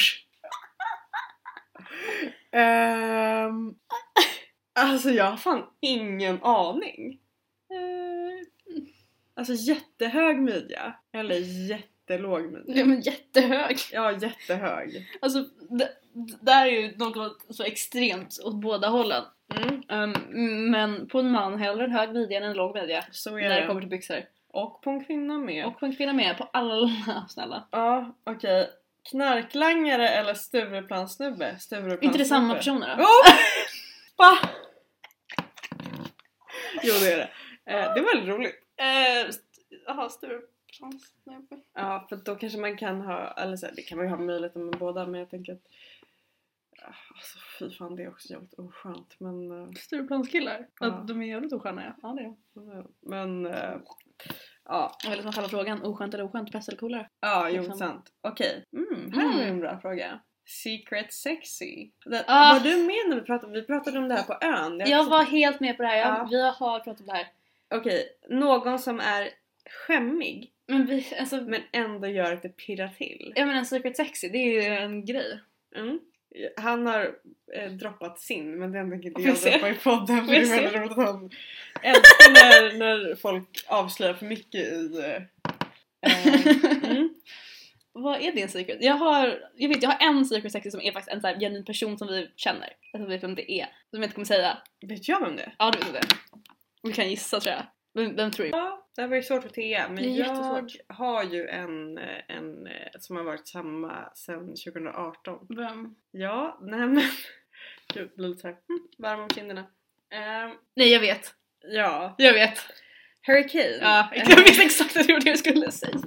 Speaker 1: Ehm, alltså jag har fan ingen aning.
Speaker 2: Eh,
Speaker 1: Alltså jättehög midja eller jättelåg midja.
Speaker 2: Ja, men jättehög.
Speaker 1: Ja jättehög.
Speaker 2: Alltså, det, det där är ju något så extremt åt båda hållen.
Speaker 1: Mm,
Speaker 2: Ehm, men på en man hellre en hög midja än en låg midja.
Speaker 1: så är
Speaker 2: När det
Speaker 1: det.
Speaker 2: kommer till byxor.
Speaker 1: Och på en kvinna med.
Speaker 2: Och på en kvinna med, på alla snälla.
Speaker 1: Ja, okej. Knarklangare eller Stureplanssnubbe? Stureplanssnubbe.
Speaker 2: inte det samma personer då?
Speaker 1: Oh! Va? Jo det är det. Eh, det var väldigt roligt.
Speaker 2: Eh, Jaha, Stureplansnubbe.
Speaker 1: Ja, för då kanske man kan ha, eller så här, det kan man ju ha möjligheten med båda men jag tänker att Ah, Alltså fy fan det är också jävligt oskönt men eh,
Speaker 2: Stureplanskillar?
Speaker 1: Ja.
Speaker 2: Ja. De är jävligt osköna ja. Ja det är de.
Speaker 1: Men eh, ja,
Speaker 2: Jag vill att man ställer frågan oskönt eller oskönt, bäst eller coolare?
Speaker 1: ja jo
Speaker 2: Liksom.
Speaker 1: sant. Okej, mm, här har vi
Speaker 2: Mm.
Speaker 1: en bra fråga. Secret sexy. Den,
Speaker 2: Ah.
Speaker 1: Var du med när vi pratade, vi pratade om det här på ön?
Speaker 2: Jag var helt med på det här, jag,
Speaker 1: Ja.
Speaker 2: vi har pratat om det här.
Speaker 1: Okej, någon som är skämmig
Speaker 2: Men vi, alltså,
Speaker 1: men ändå gör att det pirrar till.
Speaker 2: jag menar Secret Sexy, det är ju en grej.
Speaker 1: Mm. Han har eh, droppat sin men den tänker inte
Speaker 2: Får
Speaker 1: jag
Speaker 2: se.
Speaker 1: droppa i podden för
Speaker 2: Får
Speaker 1: det är
Speaker 2: se.
Speaker 1: väldigt roligt att han älskar när, när folk avslöjar för mycket i... Eh, eh, mm.
Speaker 2: Vad är din secret? Jag har, jag vet jag har en secret sexy som är faktiskt en så här genuin person som vi känner. Jag vet vem det är. Som jag inte kommer säga.
Speaker 1: Vet jag vem det är?
Speaker 2: Ja du vet det. Du kan gissa tror jag. Vem, vem tror du?
Speaker 1: Ja, det här var ju svårt för Thea
Speaker 2: Det
Speaker 1: men
Speaker 2: är
Speaker 1: jag
Speaker 2: jättesvårt.
Speaker 1: har ju en, eh, en eh, som har varit samma sedan 2018.
Speaker 2: Vem?
Speaker 1: Ja, nej men... Gud, blir lite så här, mm, varm om kinderna. Ehm,
Speaker 2: Nej jag vet.
Speaker 1: ja, Ehm,
Speaker 2: Jag vet.
Speaker 1: Hurricane.
Speaker 2: Ja, jag vet exakt vad det var det jag skulle säga.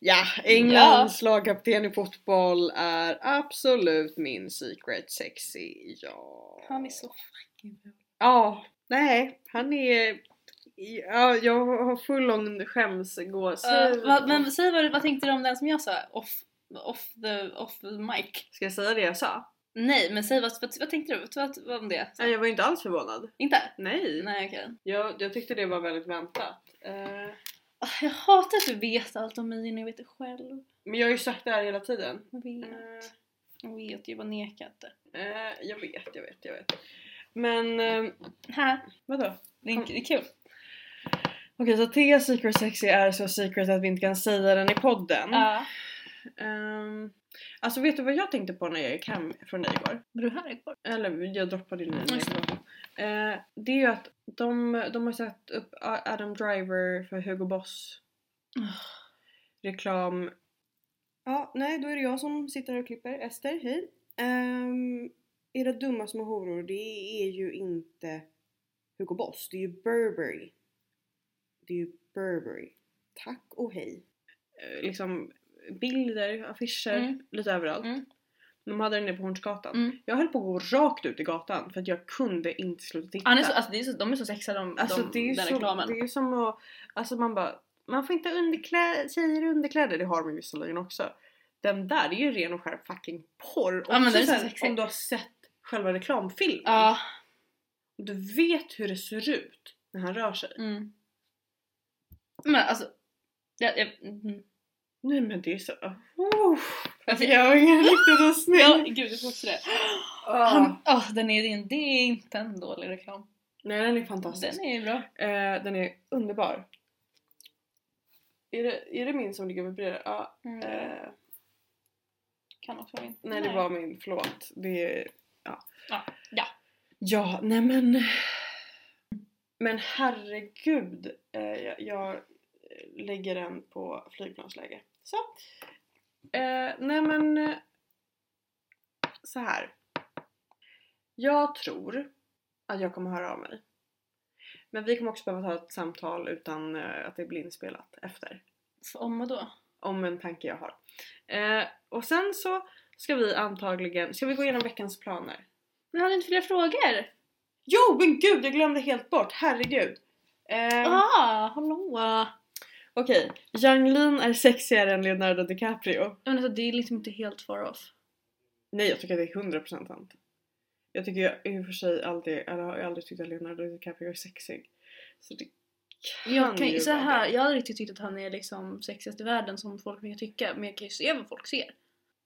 Speaker 1: Ja, Englands lagkapten i fotboll är absolut min secret sexy. Ja.
Speaker 2: fucking bra.
Speaker 1: Ja, nej, han är... Ja, jag har full on skämsgås.
Speaker 2: men säg Eh, vad, du- vad tänkte du om den som jag sa? Off, off, the, off the mic.
Speaker 1: Ska jag säga det jag sa?
Speaker 2: Nej men säg vad, vad, vad tänkte du? Vad, vad, vad om det?
Speaker 1: Nej, jag var ju inte alls förvånad.
Speaker 2: Inte?
Speaker 1: Nej,
Speaker 2: Nej okej.
Speaker 1: Jag, jag tyckte det var väldigt väntat. Eh,
Speaker 2: Ah, Jag hatar att du vet allt om mig när jag vet det själv.
Speaker 1: men jag har ju sagt det här hela tiden.
Speaker 2: Jag vet.
Speaker 1: Eh,
Speaker 2: Jag vet, jag bara nekar inte.
Speaker 1: Eh, jag vet, jag vet, jag vet. Men eh,
Speaker 2: Här.
Speaker 1: vadå?
Speaker 2: Det är, det är kul.
Speaker 1: Okej, så Theas secret sexy är så secret att vi inte kan säga den i podden.
Speaker 2: Ja.
Speaker 1: Ehm, alltså vet du vad jag tänkte på när jag gick hem från dig igår?
Speaker 2: Var du här igår?
Speaker 1: Eller jag droppade
Speaker 3: Mm.
Speaker 1: din
Speaker 2: Just det.
Speaker 1: uh, Det är ju att de, de har satt upp Adam Driver för Hugo Boss reklam.
Speaker 3: Ja, nej då är det jag som sitter här och klipper. Ester, hej. Um, era dumma små horor, det är ju inte Hugo Boss, det är ju Burberry. Det är ju Burberry. Tack och hej.
Speaker 1: eh, Liksom bilder, affischer,
Speaker 2: Mm.
Speaker 1: lite överallt.
Speaker 2: Mm.
Speaker 1: De hade den nere på Hornsgatan.
Speaker 2: Mm.
Speaker 1: Jag höll på att gå rakt ut i gatan för att jag kunde inte sluta titta.
Speaker 2: Han är så, alltså, det är så, de är så sexiga de,
Speaker 1: Alltså
Speaker 2: de,
Speaker 1: det, är ju
Speaker 2: den
Speaker 1: så,
Speaker 2: reklamen.
Speaker 1: det är ju som att, alltså man bara, man får inte underklä, tjejer i underkläder, det har de ju visserligen också. Den där det är ju ren och skär fucking porr.
Speaker 2: Ja, men
Speaker 1: Också
Speaker 2: den är så
Speaker 1: så här,
Speaker 2: sexig.
Speaker 1: om du har sett själva reklamfilmen.
Speaker 2: Ja.
Speaker 1: Och du vet hur det ser ut när han rör sig.
Speaker 2: Mm. Men alltså... Jag, jag, mm.
Speaker 1: Nej men det är så, oh,
Speaker 2: Alltså,
Speaker 1: jag har ingen riktigt så snygg.
Speaker 2: ja, gud jag tror också det.
Speaker 1: Ah.
Speaker 2: Han, åh, den är, din- det är inte en dålig reklam.
Speaker 1: Nej den är fantastisk.
Speaker 2: Den är bra.
Speaker 1: Eh, den är underbar. Är det, är det min som ligger och vibrerar? Ja.
Speaker 2: Mm.
Speaker 1: Eh,
Speaker 2: Kan också vara min.
Speaker 1: nej, det var min, förlåt. Det är, ja.
Speaker 2: Ja, ja.
Speaker 1: Ja, nej men. Men herregud. Eh, jag, jag lägger den på flygplansläge. Så. Eh, nej men. eh, Så här. Jag tror att jag kommer höra av mig. Men vi kommer också behöva ta ett samtal utan eh, att det blir inspelat efter.
Speaker 2: Om och då?
Speaker 1: Om en tanke jag har. Eh, och sen så ska vi antagligen, ska vi gå igenom veckans planer?
Speaker 2: Men hade inte fler frågor?
Speaker 1: Jo men gud jag glömde helt bort, herregud! Eh,
Speaker 2: Ah, hallå!
Speaker 1: Okej, Janglin är sexigare än Leonardo DiCaprio.
Speaker 2: Men alltså, det är liksom inte helt far off.
Speaker 1: Nej jag tycker att det är 100% sant. Jag tycker jag, i och för sig aldrig, eller jag har aldrig tyckt att Leonardo DiCaprio är sexig. Så det kan
Speaker 2: Jag, kan,
Speaker 1: ju
Speaker 2: ju så
Speaker 1: vara
Speaker 2: här,
Speaker 1: det.
Speaker 2: jag har riktigt tyckt att han är liksom sexigast i världen som folk brukar tycka men jag kan ju se vad folk ser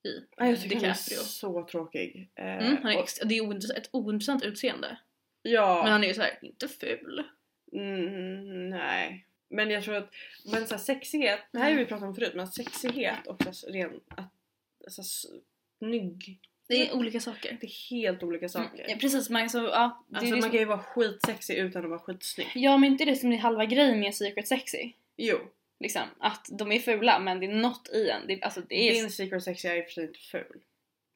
Speaker 2: i
Speaker 1: Ja, jag tycker han är
Speaker 2: DiCaprio.
Speaker 1: så tråkig. Eh,
Speaker 2: Mm, han är
Speaker 1: och-
Speaker 2: ex- det är ointress- ett ointressant utseende.
Speaker 1: ja,
Speaker 2: Men han är ju såhär, inte ful.
Speaker 1: mm, nej. Men jag tror att, men så här, sexighet, det här har vi pratat om förut, men sexighet och så här, ren, att, så här, snygg.
Speaker 2: Det är olika saker.
Speaker 1: Det är helt olika saker.
Speaker 2: Mm, ja, precis, men alltså, ja, det är
Speaker 1: Alltså
Speaker 2: det
Speaker 1: man
Speaker 2: som-
Speaker 1: kan ju vara skitsexig utan att vara skitsnygg.
Speaker 2: Ja men inte det som är halva grejen med Secret Sexy.
Speaker 1: Jo,
Speaker 2: Liksom, att de är fula men det är något i en. Det, alltså, det är...
Speaker 1: din secret sexy är i och för sig inte ful.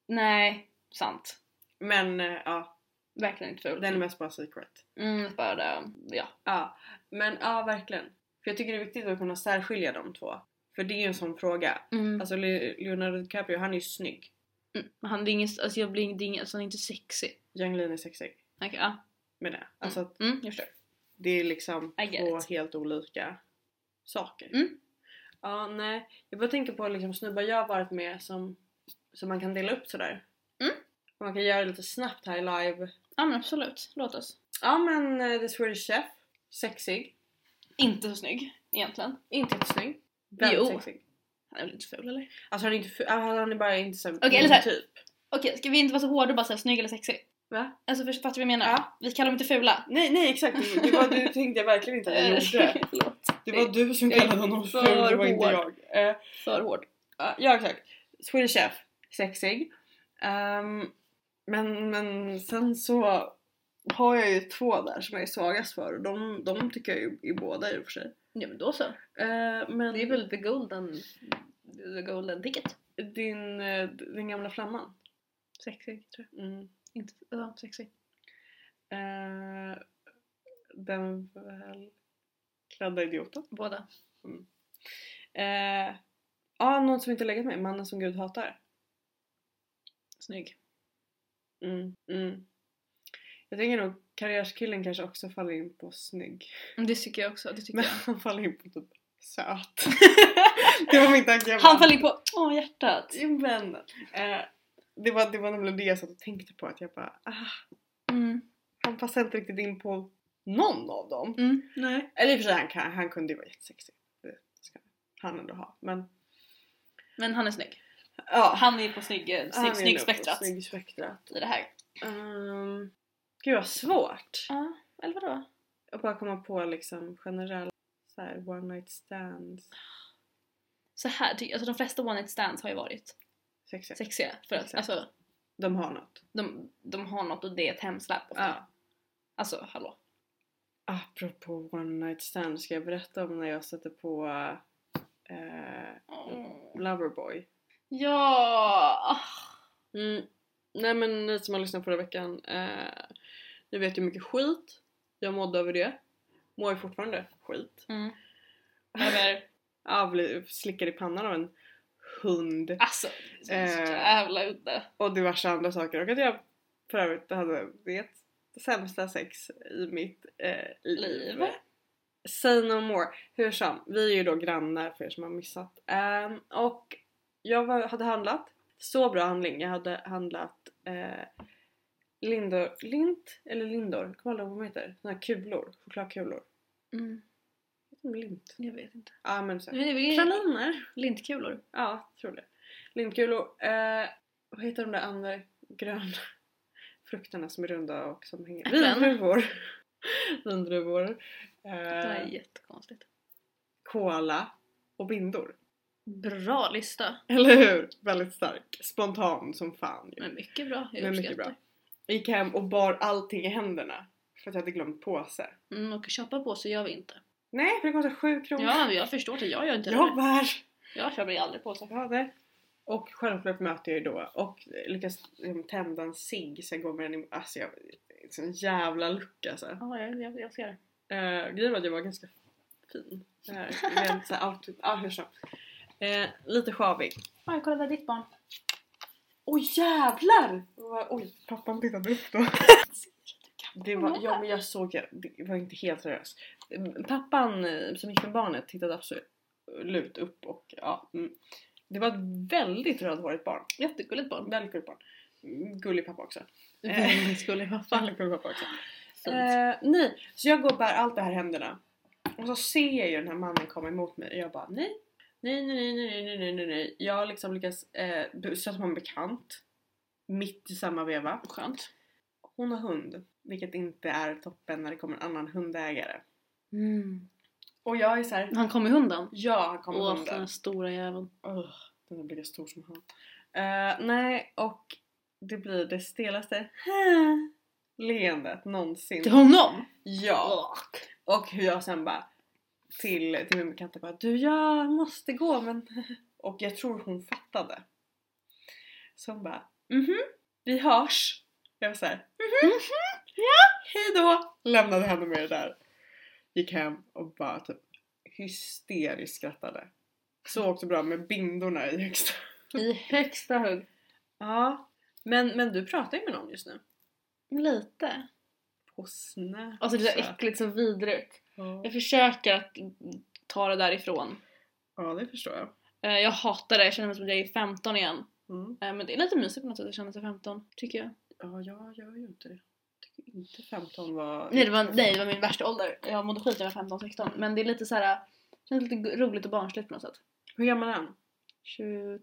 Speaker 2: Nej, sant.
Speaker 1: Men eh, ja,
Speaker 2: Verkligen inte ful.
Speaker 1: den är mest bara secret.
Speaker 2: Mm, bara, ja.
Speaker 1: Ja, men ja verkligen. För jag tycker det är viktigt att kunna särskilja de två. För det är ju en sån fråga.
Speaker 2: Mm.
Speaker 1: Alltså Le- Leonardo DiCaprio, han är ju snygg.
Speaker 2: Mm, Han, det är ingen, alltså jag blir ingen, det är ingen, alltså han är inte sexy.
Speaker 1: Yang Lean är sexig.
Speaker 2: Okej, ja.
Speaker 1: Med det. Alltså att
Speaker 2: Mm, jag förstår.
Speaker 1: det är liksom
Speaker 2: I get
Speaker 1: två
Speaker 2: it.
Speaker 1: helt olika saker.
Speaker 2: Mm.
Speaker 1: Ja, nej. Jag bara tänker på liksom snubbar jag har varit med som, som man kan dela upp sådär.
Speaker 2: Mm.
Speaker 1: Och man kan göra det lite snabbt här live.
Speaker 2: Ja men absolut, låt oss.
Speaker 1: Ja men eh, The Swedish Chef, sexig.
Speaker 2: Inte så snygg egentligen.
Speaker 1: Inte jättesnygg. Väldigt
Speaker 2: Jo.
Speaker 1: sexig.
Speaker 2: Han är väl inte ful eller?
Speaker 1: Alltså han är inte fu- ah, han är bara inte så här
Speaker 2: Okej, eller så här-
Speaker 1: typ.
Speaker 2: Okej, ska vi inte vara så hårda och bara säga snygg eller sexig?
Speaker 1: Va?
Speaker 2: Alltså först fattar du vad jag menar?
Speaker 1: Ja.
Speaker 2: Vi kallar dem inte fula.
Speaker 1: Nej nej exakt, det, det, var, det tänkte jag verkligen inte att jag gjorde.
Speaker 2: Förlåt.
Speaker 1: Det var du som
Speaker 2: Jag är
Speaker 1: kallade honom ful,
Speaker 2: för
Speaker 1: det var inte jag.
Speaker 2: hård.
Speaker 1: Eh,
Speaker 2: För hård.
Speaker 1: ja exakt. Swedish Chef, sexig. Ehm, men, men sen så har jag ju två där som jag är svagast för och de, de tycker jag ju i båda i och för sig.
Speaker 2: Ja men då så.
Speaker 1: Eh, men
Speaker 2: Det är väl the golden, the golden ticket.
Speaker 1: din, eh, din gamla flamman.
Speaker 2: Sexig tror
Speaker 1: Mm.
Speaker 2: jag. Inte, ja, sexig.
Speaker 1: Eh, den välklädda idioten.
Speaker 2: Båda.
Speaker 1: Eh, ja, någon som inte legat med. Mannen som Gud hatar.
Speaker 2: Snygg.
Speaker 1: Mm, mm. Jag tänker nog karriärskillen kanske också faller in på snygg.
Speaker 2: Men Det tycker jag också, det tycker
Speaker 1: Men
Speaker 2: jag.
Speaker 1: han faller in på typ söt. det var min tanke. jag
Speaker 2: Han
Speaker 1: bara-
Speaker 2: faller in på, åh hjärtat.
Speaker 1: Jo, Men, eh, det, var, det var nämligen det jag satt och tänkte på. Att jag bara, ah,
Speaker 2: Mm.
Speaker 1: han passar inte riktigt in på någon av dem.
Speaker 2: Mm. Nej.
Speaker 1: Eller i och för sig, han, kan, han kunde ju vara jättesexig. Det ska han ändå ha. Men
Speaker 2: Men han är snygg.
Speaker 1: ja,
Speaker 2: Han är på snygg, eh,
Speaker 1: han är
Speaker 2: snygg, snygg
Speaker 1: nog på
Speaker 2: spektrat
Speaker 1: Snygg spektrat.
Speaker 2: i det här.
Speaker 1: Um, gud vad svårt.
Speaker 2: Ja, eller vadå?
Speaker 1: Att bara komma på liksom generella så här, one night stands.
Speaker 2: Så här, ty- alltså de flesta one night stands har ju varit
Speaker 1: Sexiga.
Speaker 2: sexiga för att
Speaker 1: Exakt.
Speaker 2: alltså,
Speaker 1: De har något.
Speaker 2: de, de har något och det är ett hemsläpp ofta.
Speaker 1: Ja.
Speaker 2: Alltså hallå.
Speaker 1: Apropå one night stands ska jag berätta om när jag satte på eh,
Speaker 2: Mm.
Speaker 1: Loverboy.
Speaker 2: Ja!
Speaker 1: Mm. Nej men ni som har lyssnat förra veckan, eh, ni vet ju hur mycket skit jag mådde över det. Mår ju fortfarande skit.
Speaker 2: Mm. Över
Speaker 1: Ja, blev slickad i pannan av en hund
Speaker 2: Alltså, det är så
Speaker 1: Eh.
Speaker 2: jävla udda.
Speaker 1: och diverse andra saker och att jag för övrigt hade det sämsta sex i mitt eh, liv.
Speaker 2: Liv.
Speaker 1: Say no more. Hur som, vi är ju då grannar för er som har missat. Ehm, och jag var, hade handlat, så bra handling, jag hade handlat eh, Lindor, Lint eller Lindor, jag kommer aldrig ihåg vad de heter, såna här kulor, chokladkulor.
Speaker 2: Mm,
Speaker 1: Lint. Ja
Speaker 2: jag vet inte. Eh.
Speaker 1: men så.
Speaker 2: Det är väl
Speaker 1: Praliner.
Speaker 2: lintkulor?
Speaker 1: Ja, tror det. Lindkulor. Eh, vad heter de där andra gröna frukterna som är runda och som hänger?
Speaker 2: Äpplen.
Speaker 1: Vindruvor. Vindruvor.
Speaker 2: Det där är
Speaker 1: Eh,
Speaker 2: jättekonstigt.
Speaker 1: koala och bindor.
Speaker 2: Bra lista.
Speaker 1: Eller hur? Väldigt stark. Spontan som fan ju.
Speaker 2: Men mycket bra. Jag
Speaker 1: Men mycket
Speaker 2: uppskattar.
Speaker 1: Jag gick hem och bar allting i händerna. För att jag hade glömt påse.
Speaker 2: Mm, och köpa på sig gör vi inte.
Speaker 1: Nej, för det kostar sju kronor.
Speaker 2: Ja, men jag förstår det. Jag gör inte
Speaker 1: jag
Speaker 2: det.
Speaker 1: bär!
Speaker 2: Jag köper aldrig på sig.
Speaker 1: Ja, det. Och självklart möter jag ju då och lyckas liksom, tända en cigg sen går med den i... Alltså jag... Sån jävla lucka alltså.
Speaker 2: Ja, jag, jag, jag ser det.
Speaker 1: Eh, Grejen var att jag var ganska fin. Eh, Med så här outfit. Ah, hur som. Eh, lite sjavig.
Speaker 2: Oj, kolla där är ditt barn.
Speaker 1: Oj jävlar! Vad- Oj, pappan tittade upp då. Det var, ja men jag såg det, det var inte helt seriös. Eh, Pappan eh, som gick med barnet tittade absolut upp och ja. Mm. Det var ett väldigt rödhårigt barn.
Speaker 2: Jättegulligt barn.
Speaker 1: Väldigt gulligt barn. Mm, Gullig pappa också.
Speaker 2: Väldigt gullig pappa.
Speaker 1: Väldigt gullig pappa också.
Speaker 2: Fint.
Speaker 1: Eh, nej, så jag går och bär allt det här i händerna. Och så ser jag ju den här mannen komma emot mig och jag bara nej. Nej, nej, nej, nej, nej, nej, nej, nej. Jag har liksom lyckas eh, bu- stöta på en bekant. Mitt i samma veva.
Speaker 2: Skönt.
Speaker 1: Hon har hund. Vilket inte är toppen när det kommer en annan hundägare. Mm. Och jag är så här.
Speaker 2: Han kom i hunden.
Speaker 1: Ja, han kommer
Speaker 2: Åh, den
Speaker 1: hunden.
Speaker 2: där stora jäveln.
Speaker 1: Ugh, den är lika stor som han. Eh, nej, och det blir det stelaste leendet någonsin.
Speaker 2: Till honom?
Speaker 1: Ja. Och hur jag sen bara till, till min bekanta bara du jag måste gå men och jag tror hon fattade. Så hon bara mhm vi hörs. Jag var såhär mhm ja hejdå lämnade henne med det där. Gick hem och bara typ hysteriskt skrattade. Så också bra med bindorna i högsta.
Speaker 2: I högsta hugg.
Speaker 1: Ja men, men du pratar ju med någon just nu.
Speaker 2: Lite.
Speaker 1: På Snapchat.
Speaker 2: Alltså det är så äckligt, så vidrigt. Jag försöker att ta det därifrån.
Speaker 1: Ja det förstår jag.
Speaker 2: Eh, Jag hatar det, jag känner mig som att jag är 15 igen.
Speaker 1: Mm.
Speaker 2: Eh, Men det är lite mysigt på något sätt att känna sig 15, tycker jag.
Speaker 1: Ja, jag gör ju inte det. Tycker inte 15 var...
Speaker 2: Nej det var, nej, det var min värsta ålder. Jag mådde skit när jag var 15-16. Men det är lite såhär, känns lite gu- roligt och barnsligt på något sätt.
Speaker 1: Hur gammal är han?
Speaker 2: 22,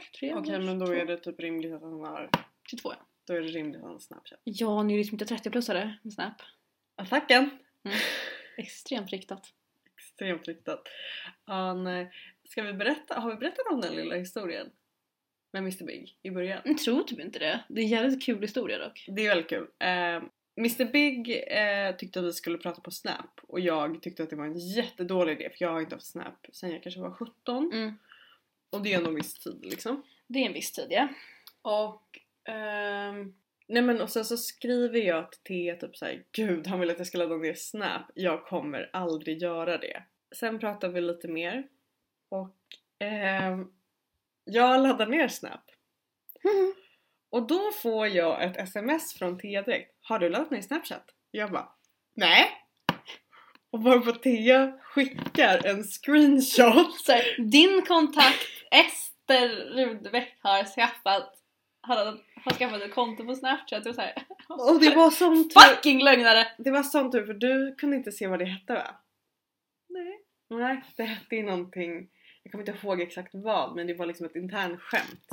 Speaker 2: 23?
Speaker 1: Okej, men då är det typ rimligt att han har...
Speaker 2: 22 ja.
Speaker 1: Då är det rimligt att han har Snapchat.
Speaker 2: Ja, nu är det liksom inte 30-plussare med Snap.
Speaker 1: Attacken!
Speaker 2: Extremt riktat.
Speaker 1: Extremt riktat. Han, eh, ska vi berätta? Har vi berättat om den lilla historien? Med Mr Big i början.
Speaker 2: Jag tror typ inte det. Det är en jävligt kul historia dock.
Speaker 1: Det är väldigt kul. Eh, Mr Big eh, tyckte att vi skulle prata på Snap och jag tyckte att det var en jättedålig idé för jag har inte haft Snap sen jag kanske var 17
Speaker 2: Mm.
Speaker 1: och det är ändå en viss tid liksom.
Speaker 2: Det är en viss tid ja.
Speaker 1: Och ehm, Nej men och sen så skriver jag till T typ såhär Gud han vill att jag ska ladda ner Snap. Jag kommer aldrig göra det. Sen pratar vi lite mer. Och ehm, jag laddar ner Snap. Och då får jag ett sms från Tia direkt. Har du laddat ner Snapchat? Jag bara Nej. Och varpå Tia skickar en screenshot.
Speaker 2: Så här, din kontakt Ester Rudbeck har skaffat, har, har skaffat ett konto på Snapchat och så här.
Speaker 1: Och det var som tur.
Speaker 2: Fucking lögnare!
Speaker 1: Det var sån tur för du kunde inte se vad det hette va? Nej. Nej, det hette ju någonting. Jag kommer inte ihåg exakt vad men det var liksom ett internskämt.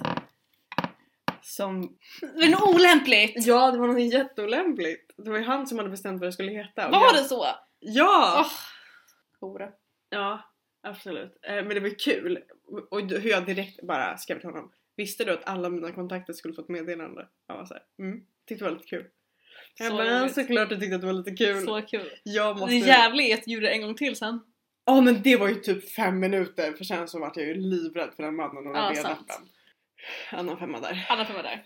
Speaker 1: Som...
Speaker 2: Men olämpligt!
Speaker 1: Ja, det var något jätteolämpligt. Det var ju han som hade bestämt vad det skulle heta. och
Speaker 2: Var
Speaker 1: jag-
Speaker 2: det så?
Speaker 1: Ja!
Speaker 2: Åh. Hora.
Speaker 1: Ja, absolut. Eh, Men det var ju kul. Och- Och hur jag direkt bara skrev till honom. Visste du att alla mina kontakter skulle få ett meddelande? Jag var såhär, mm. Tyckte det var lite kul. Jag
Speaker 2: Så
Speaker 1: bara, ja,
Speaker 2: roligt.
Speaker 1: såklart du tyckte att det var lite kul.
Speaker 2: Så kul.
Speaker 1: Jag måste...
Speaker 2: Det är jävligt, gjorde det en gång till sen.
Speaker 1: Ja men det var ju typ fem minuter för sen så vart jag ju livrädd för den mannen och den
Speaker 2: Ja,
Speaker 1: ja,
Speaker 2: sant.
Speaker 1: appen. Annan femma där.
Speaker 2: Alla får vara där.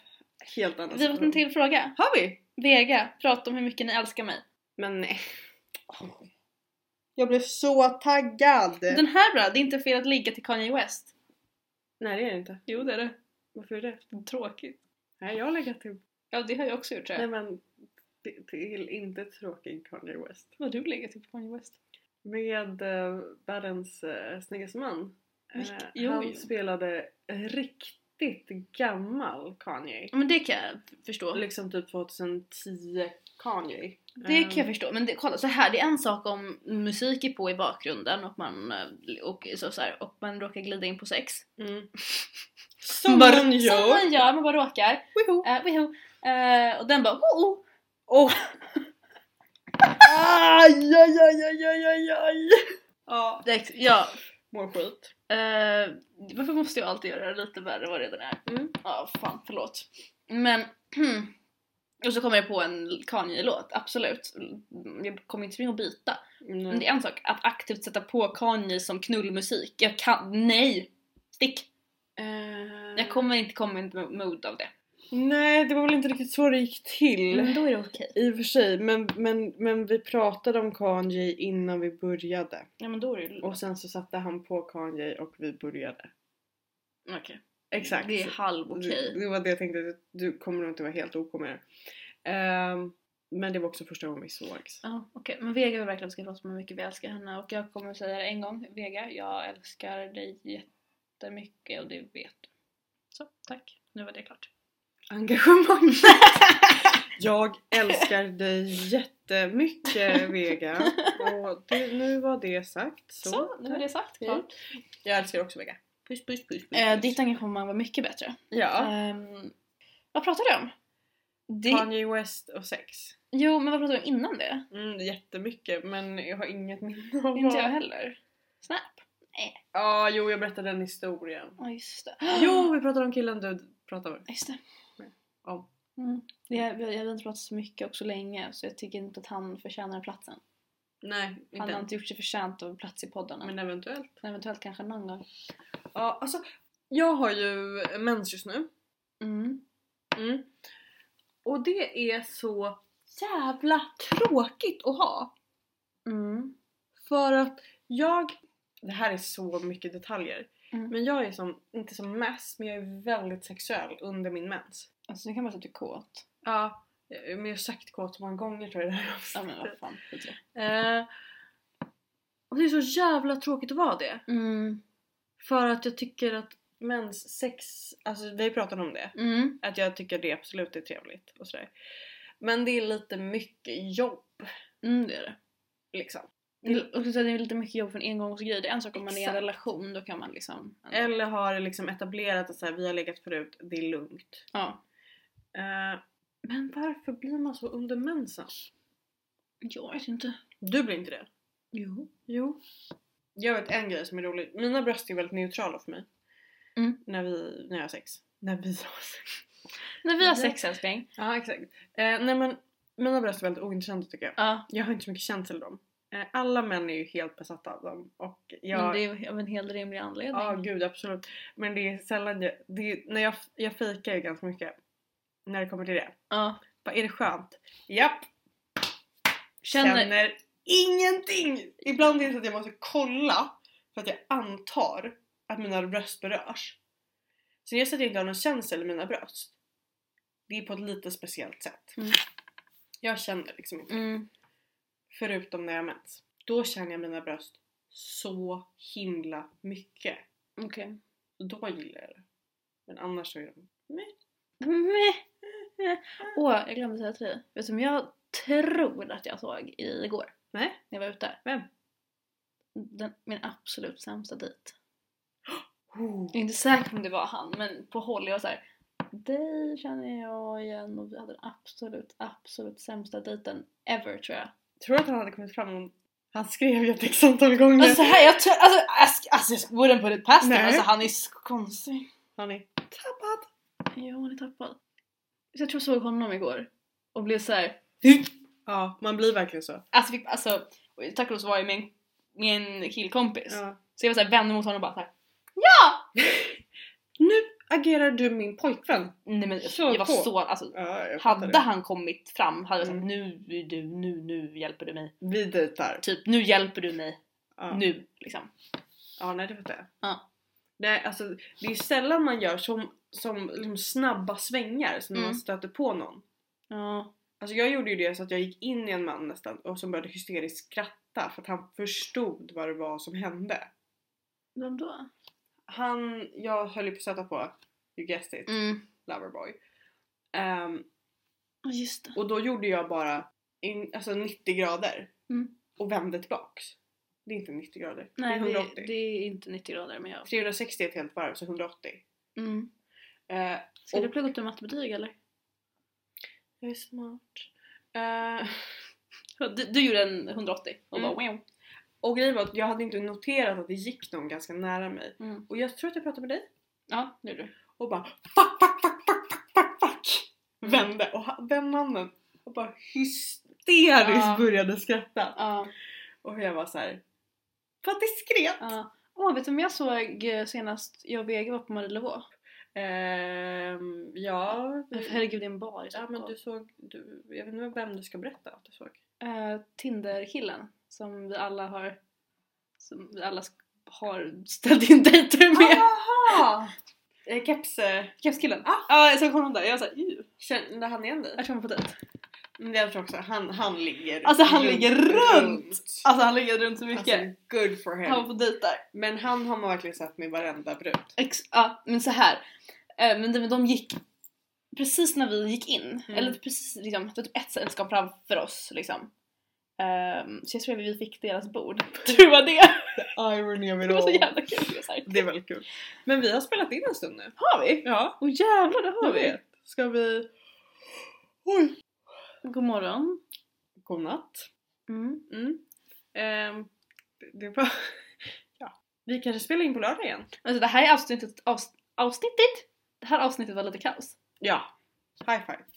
Speaker 1: Helt annan
Speaker 2: Vi har fått en
Speaker 1: situation.
Speaker 2: till fråga.
Speaker 1: Har vi?
Speaker 2: Vega, prata om hur mycket ni älskar mig.
Speaker 1: Men nej. Jag blev så taggad!
Speaker 2: Den här bra, det är inte fel att ligga till Kanye West.
Speaker 3: Nej det är det inte.
Speaker 2: Jo det är det.
Speaker 1: Varför är det?
Speaker 2: Tråkigt.
Speaker 1: Nej, jag har legat till...
Speaker 2: Ja det har jag också gjort tror
Speaker 1: Nej
Speaker 2: jag.
Speaker 1: men, till, till inte tråkig Kanye West.
Speaker 2: Vad har du legat till på Kanye West?
Speaker 1: Med eh, världens eh, snyggaste man.
Speaker 2: Vilk-
Speaker 1: Eh,
Speaker 2: jo,
Speaker 1: han
Speaker 2: jo.
Speaker 1: spelade riktigt gammal Kanye.
Speaker 2: Men det kan jag förstå.
Speaker 1: Liksom typ 2010 Kanye.
Speaker 2: Det kan jag
Speaker 1: Ehm,
Speaker 2: förstå, men det, kolla så här, det är en sak om musik är på i bakgrunden och man, eh, och, så, så här, och man råkar glida in på sex.
Speaker 1: Mm.
Speaker 2: Som
Speaker 1: Som man
Speaker 2: Som
Speaker 1: gör!
Speaker 2: man gör, man bara råkar.
Speaker 1: Woho!
Speaker 2: Eh, woho. Eh, och den bara oh, oh.
Speaker 1: Och... Aj, aj, aj, aj, aj, aj, aj! Ja,
Speaker 2: Det, ja,
Speaker 1: mår skit.
Speaker 2: eh, varför måste jag alltid göra det lite värre än vad det redan är?
Speaker 1: Mm.
Speaker 2: Ja, fan förlåt. Men, och så kommer jag på en Kanye-låt, absolut. Jag kommer inte springa och byta. Men det är en sak att aktivt sätta på Kanye som knullmusik. Jag kan, nej! Stick!
Speaker 1: Eh,
Speaker 2: Jag kommer inte komma i ett mood av det.
Speaker 1: Nej, det var väl inte riktigt så det gick till.
Speaker 2: Men då är det okej.
Speaker 1: I och för sig, men, men, men vi pratade om Kanye innan vi började.
Speaker 2: Ja men då är det
Speaker 1: Och sen så satte han på Kanye och vi började.
Speaker 2: Okej. Mm.
Speaker 1: Exakt.
Speaker 2: Det är halv okej.
Speaker 1: Det, det var det jag tänkte, att du kommer nog inte vara helt OK med det. Ehm, men det var också första gången vi sågs.
Speaker 2: Ja, okej. Men Vega vill verkligen att vi ska prata om hur mycket vi älskar henne och jag kommer säga det en gång. Vega, jag älskar dig jättemycket och det vet du. Så, tack. Nu var det klart.
Speaker 1: Engagemang! jag älskar dig jättemycket Vega. Och det, nu var det sagt. Så.
Speaker 2: Så, nu är det sagt.
Speaker 1: Hej.
Speaker 2: Klart.
Speaker 1: Jag älskar också Vega.
Speaker 2: Puss, puss, puss, puss. Eh, ditt engagemang var mycket bättre.
Speaker 1: Ja.
Speaker 2: Ehm, vad pratade du om? Det,
Speaker 1: Kanye West och sex.
Speaker 2: jo, men vad pratade du om innan det?
Speaker 1: Mm, jättemycket men jag har inget minne av
Speaker 2: Inte
Speaker 1: vad-
Speaker 2: jag heller. Snap.
Speaker 1: Ja, jo jag berättade den historien.
Speaker 2: Ja, just det.
Speaker 1: Jo, vi pratade om killen du pratade
Speaker 2: Just det.
Speaker 1: om.
Speaker 2: Mm. Jag, jag, jag har inte pratat så mycket och så länge så jag tycker inte att han förtjänar den platsen.
Speaker 1: Nej,
Speaker 2: Han
Speaker 1: inte
Speaker 2: har
Speaker 1: än.
Speaker 2: inte gjort sig förtjänt av en plats i podden än.
Speaker 1: Men eventuellt.
Speaker 2: Eventuellt kanske någon gång.
Speaker 1: Ja, alltså jag har ju mens just nu.
Speaker 2: Mm.
Speaker 1: Mm. Och det är så jävla tråkigt att ha.
Speaker 2: Mm.
Speaker 1: För att jag... Det här är så mycket detaljer.
Speaker 2: Mm.
Speaker 1: Men jag är som, inte som mest, men jag är väldigt sexuell under min mens.
Speaker 2: Alltså nu kan man säga att du är kåt.
Speaker 1: Ja, men jag har sagt kåt så många gånger tror jag i det här
Speaker 2: Ja
Speaker 1: avsnittet.
Speaker 2: men vad fan. skit i
Speaker 1: Eh, och det är så jävla tråkigt att vara det.
Speaker 2: det. Mm.
Speaker 1: För att jag tycker att mens sex, alltså vi pratade om det.
Speaker 2: Mm.
Speaker 1: Att jag tycker det absolut är trevligt och sådär. Men det är lite mycket jobb
Speaker 2: Mm, det är det.
Speaker 1: liksom.
Speaker 2: Det är, också så här, det är lite mycket jobb för en engångsgrej. Det är en sak om man är i en
Speaker 1: Exakt.
Speaker 2: relation, då kan man liksom...
Speaker 1: Eller har det liksom etablerat att så här, vi har legat förut, det är lugnt.
Speaker 2: Ja.
Speaker 1: Eh, men varför blir man så under mensen?
Speaker 2: Jag vet inte.
Speaker 1: Du blir inte det?
Speaker 2: Jo.
Speaker 1: Jo. Jag vet en grej som är rolig. Mina bröst är väldigt neutrala för mig.
Speaker 2: Mm.
Speaker 1: När, vi, när jag har sex. När vi har sex.
Speaker 2: När vi har
Speaker 1: Det-
Speaker 2: sex älskling.
Speaker 1: Ja exakt. Eh, nej men mina bröst är väldigt ointressanta tycker jag.
Speaker 2: Ja.
Speaker 1: Jag har inte så mycket känsla i dem. Eh, alla män är ju helt besatta av dem och jag...
Speaker 2: Men Mm, det är ju av en hel rimlig anledning.
Speaker 1: Ja gud absolut. Men det är sällan jag... Det är, när jag, jag fejkar ju ganska mycket. När det kommer till det.
Speaker 2: Ja.
Speaker 1: Bara, är det skönt? Japp!
Speaker 2: Känner-
Speaker 1: Känner... ingenting! Ibland är det så att jag måste kolla för att jag antar att mina bröst berörs. Så det är så att jag inte har någon känsla i mina bröst. Det är på ett lite speciellt sätt.
Speaker 2: Mm.
Speaker 1: Jag känner liksom inte.
Speaker 2: Mm.
Speaker 1: Förutom när jag har mens. Då känner jag mina bröst så himla mycket.
Speaker 2: Okej.
Speaker 1: Då gillar jag det. Men annars så är de...
Speaker 2: Meh. Åh, jag glömde säga till dig. Vet du som jag tror att jag såg igår?
Speaker 1: Nej.
Speaker 2: När jag var ute?
Speaker 1: Vem?
Speaker 2: Den, min absolut sämsta dejt.
Speaker 1: Oh.
Speaker 2: Jag är inte säker på om det var han, men på håll. Jag var såhär, dig känner jag igen och vi hade den absolut, absolut sämsta dejten ever tror jag.
Speaker 1: Tror du att han hade kommit fram om... Han skrev ju ett x antal gånger.
Speaker 2: Alltså här, jag tror, alltså, ask, alltså jag wouldn't put it past him.
Speaker 1: Nej.
Speaker 2: Alltså han är så konstig.
Speaker 1: Han är tappad.
Speaker 2: Ja, han är tappad. Så jag tror jag såg honom igår och blev såhär,
Speaker 1: Ja, man blir verkligen så.
Speaker 2: Alltså, fick, alltså och tack och lov så var jag med en, med en killkompis.
Speaker 1: Ja.
Speaker 2: Så jag var såhär vänd mot honom och bara såhär
Speaker 1: Nu agerar du min pojkvän.
Speaker 2: Nej men
Speaker 1: Kör
Speaker 2: jag var
Speaker 1: på.
Speaker 2: så, alltså
Speaker 1: Ja, jag fattar
Speaker 2: hade
Speaker 1: det.
Speaker 2: han kommit fram hade jag sagt
Speaker 1: Mm.
Speaker 2: nu är du, nu, nu hjälper du mig.
Speaker 1: Vi dejtar.
Speaker 2: Typ nu hjälper du mig,
Speaker 1: Ja.
Speaker 2: nu liksom.
Speaker 1: Ja, nej det fattar jag.
Speaker 2: Ja.
Speaker 1: Nej, alltså det är ju sällan man gör som, som liksom snabba svängar som när man
Speaker 2: Mm.
Speaker 1: stöter på någon.
Speaker 2: Ja.
Speaker 1: Alltså jag gjorde ju det så att jag gick in i en man nästan och som började hysteriskt skratta för att han förstod vad det var som hände.
Speaker 2: Vem då?
Speaker 1: Han, jag höll ju på att stöta på, you guessed it,
Speaker 2: Mm.
Speaker 1: Loverboy. Ehm,
Speaker 2: Ja, Just det.
Speaker 1: och då gjorde jag bara in, alltså 90 grader
Speaker 2: Mm.
Speaker 1: och vände tillbaks. Det är inte 90 grader,
Speaker 2: Nej,
Speaker 1: det är
Speaker 2: det,
Speaker 1: 180.
Speaker 2: det är inte 90 grader men jag...
Speaker 1: 360 är ett helt varv så 180.
Speaker 2: Mm.
Speaker 1: Eh,
Speaker 2: Ska du
Speaker 1: Och-
Speaker 2: plugga upp till mattebetyg eller?
Speaker 1: jag är smart. Eh,
Speaker 2: Du, du gjorde en 180 och
Speaker 1: Mm.
Speaker 2: bara wow.
Speaker 1: och grejen var att jag hade inte noterat att det gick någon ganska nära mig.
Speaker 2: Mm.
Speaker 1: Och jag tror att jag pratade med dig.
Speaker 2: Ja, det gjorde du.
Speaker 1: och bara fuck, fuck, fuck, fuck, fuck, fuck, fuck.
Speaker 2: Mm.
Speaker 1: Vände och ha- den mannen och bara hysteriskt
Speaker 2: Ja.
Speaker 1: började skratta.
Speaker 2: Ja.
Speaker 1: Och jag var så här. Vad diskret!
Speaker 2: ja. Åh, vet du vem jag såg eh, senast jag och Vega var på Marie Laveau?
Speaker 1: Ehm, ja,
Speaker 2: Herregud, det är en bar i
Speaker 1: ja, men
Speaker 2: Stockholm.
Speaker 1: du såg, du, jag vet inte vem du ska berätta att du såg.
Speaker 2: Eh, Tinder-killen som vi alla har som vi alla sk- har ställt in dejter med.
Speaker 1: Jaha! Eh, Keps, eh,
Speaker 2: Kepskillen? Ja, ah. jag såg honom där. Jag var såhär "Ew."
Speaker 1: kände han igen dig?
Speaker 2: Jag tror han var på dejt.
Speaker 1: Men jag tror också han, han ligger
Speaker 2: Alltså, han ligger runt.
Speaker 1: Alltså,
Speaker 2: Alltså han ligger runt så mycket.
Speaker 1: good for
Speaker 2: han var
Speaker 1: him.
Speaker 2: på dejt där.
Speaker 1: Men han har man verkligen sett med varenda brud.
Speaker 2: Ex- ja, men så här. Eh, men de, de gick precis när vi gick in,
Speaker 1: Mm.
Speaker 2: eller precis liksom, det var typ ett sällskap framför oss liksom. Ehm, så jag tror att vi fick deras bord. Tror det var det.
Speaker 1: Irony of it
Speaker 2: Det var så jävla kul. Det var så här,
Speaker 1: Det är väldigt kul. Men vi har spelat in en stund nu.
Speaker 2: Har vi?
Speaker 1: Ja,
Speaker 2: Åh jävlar det har
Speaker 1: jag
Speaker 2: vi!
Speaker 1: vet. Ska vi... Oj!
Speaker 2: God morgon.
Speaker 1: Godnatt.
Speaker 2: Mm.
Speaker 1: Mm. Ehm, det- det var... Ja. Vi kanske spelar in på lördag igen.
Speaker 2: Alltså det här är avsnittet, avs, avsnittet! Det här avsnittet var lite kaos.
Speaker 1: Ja. High five.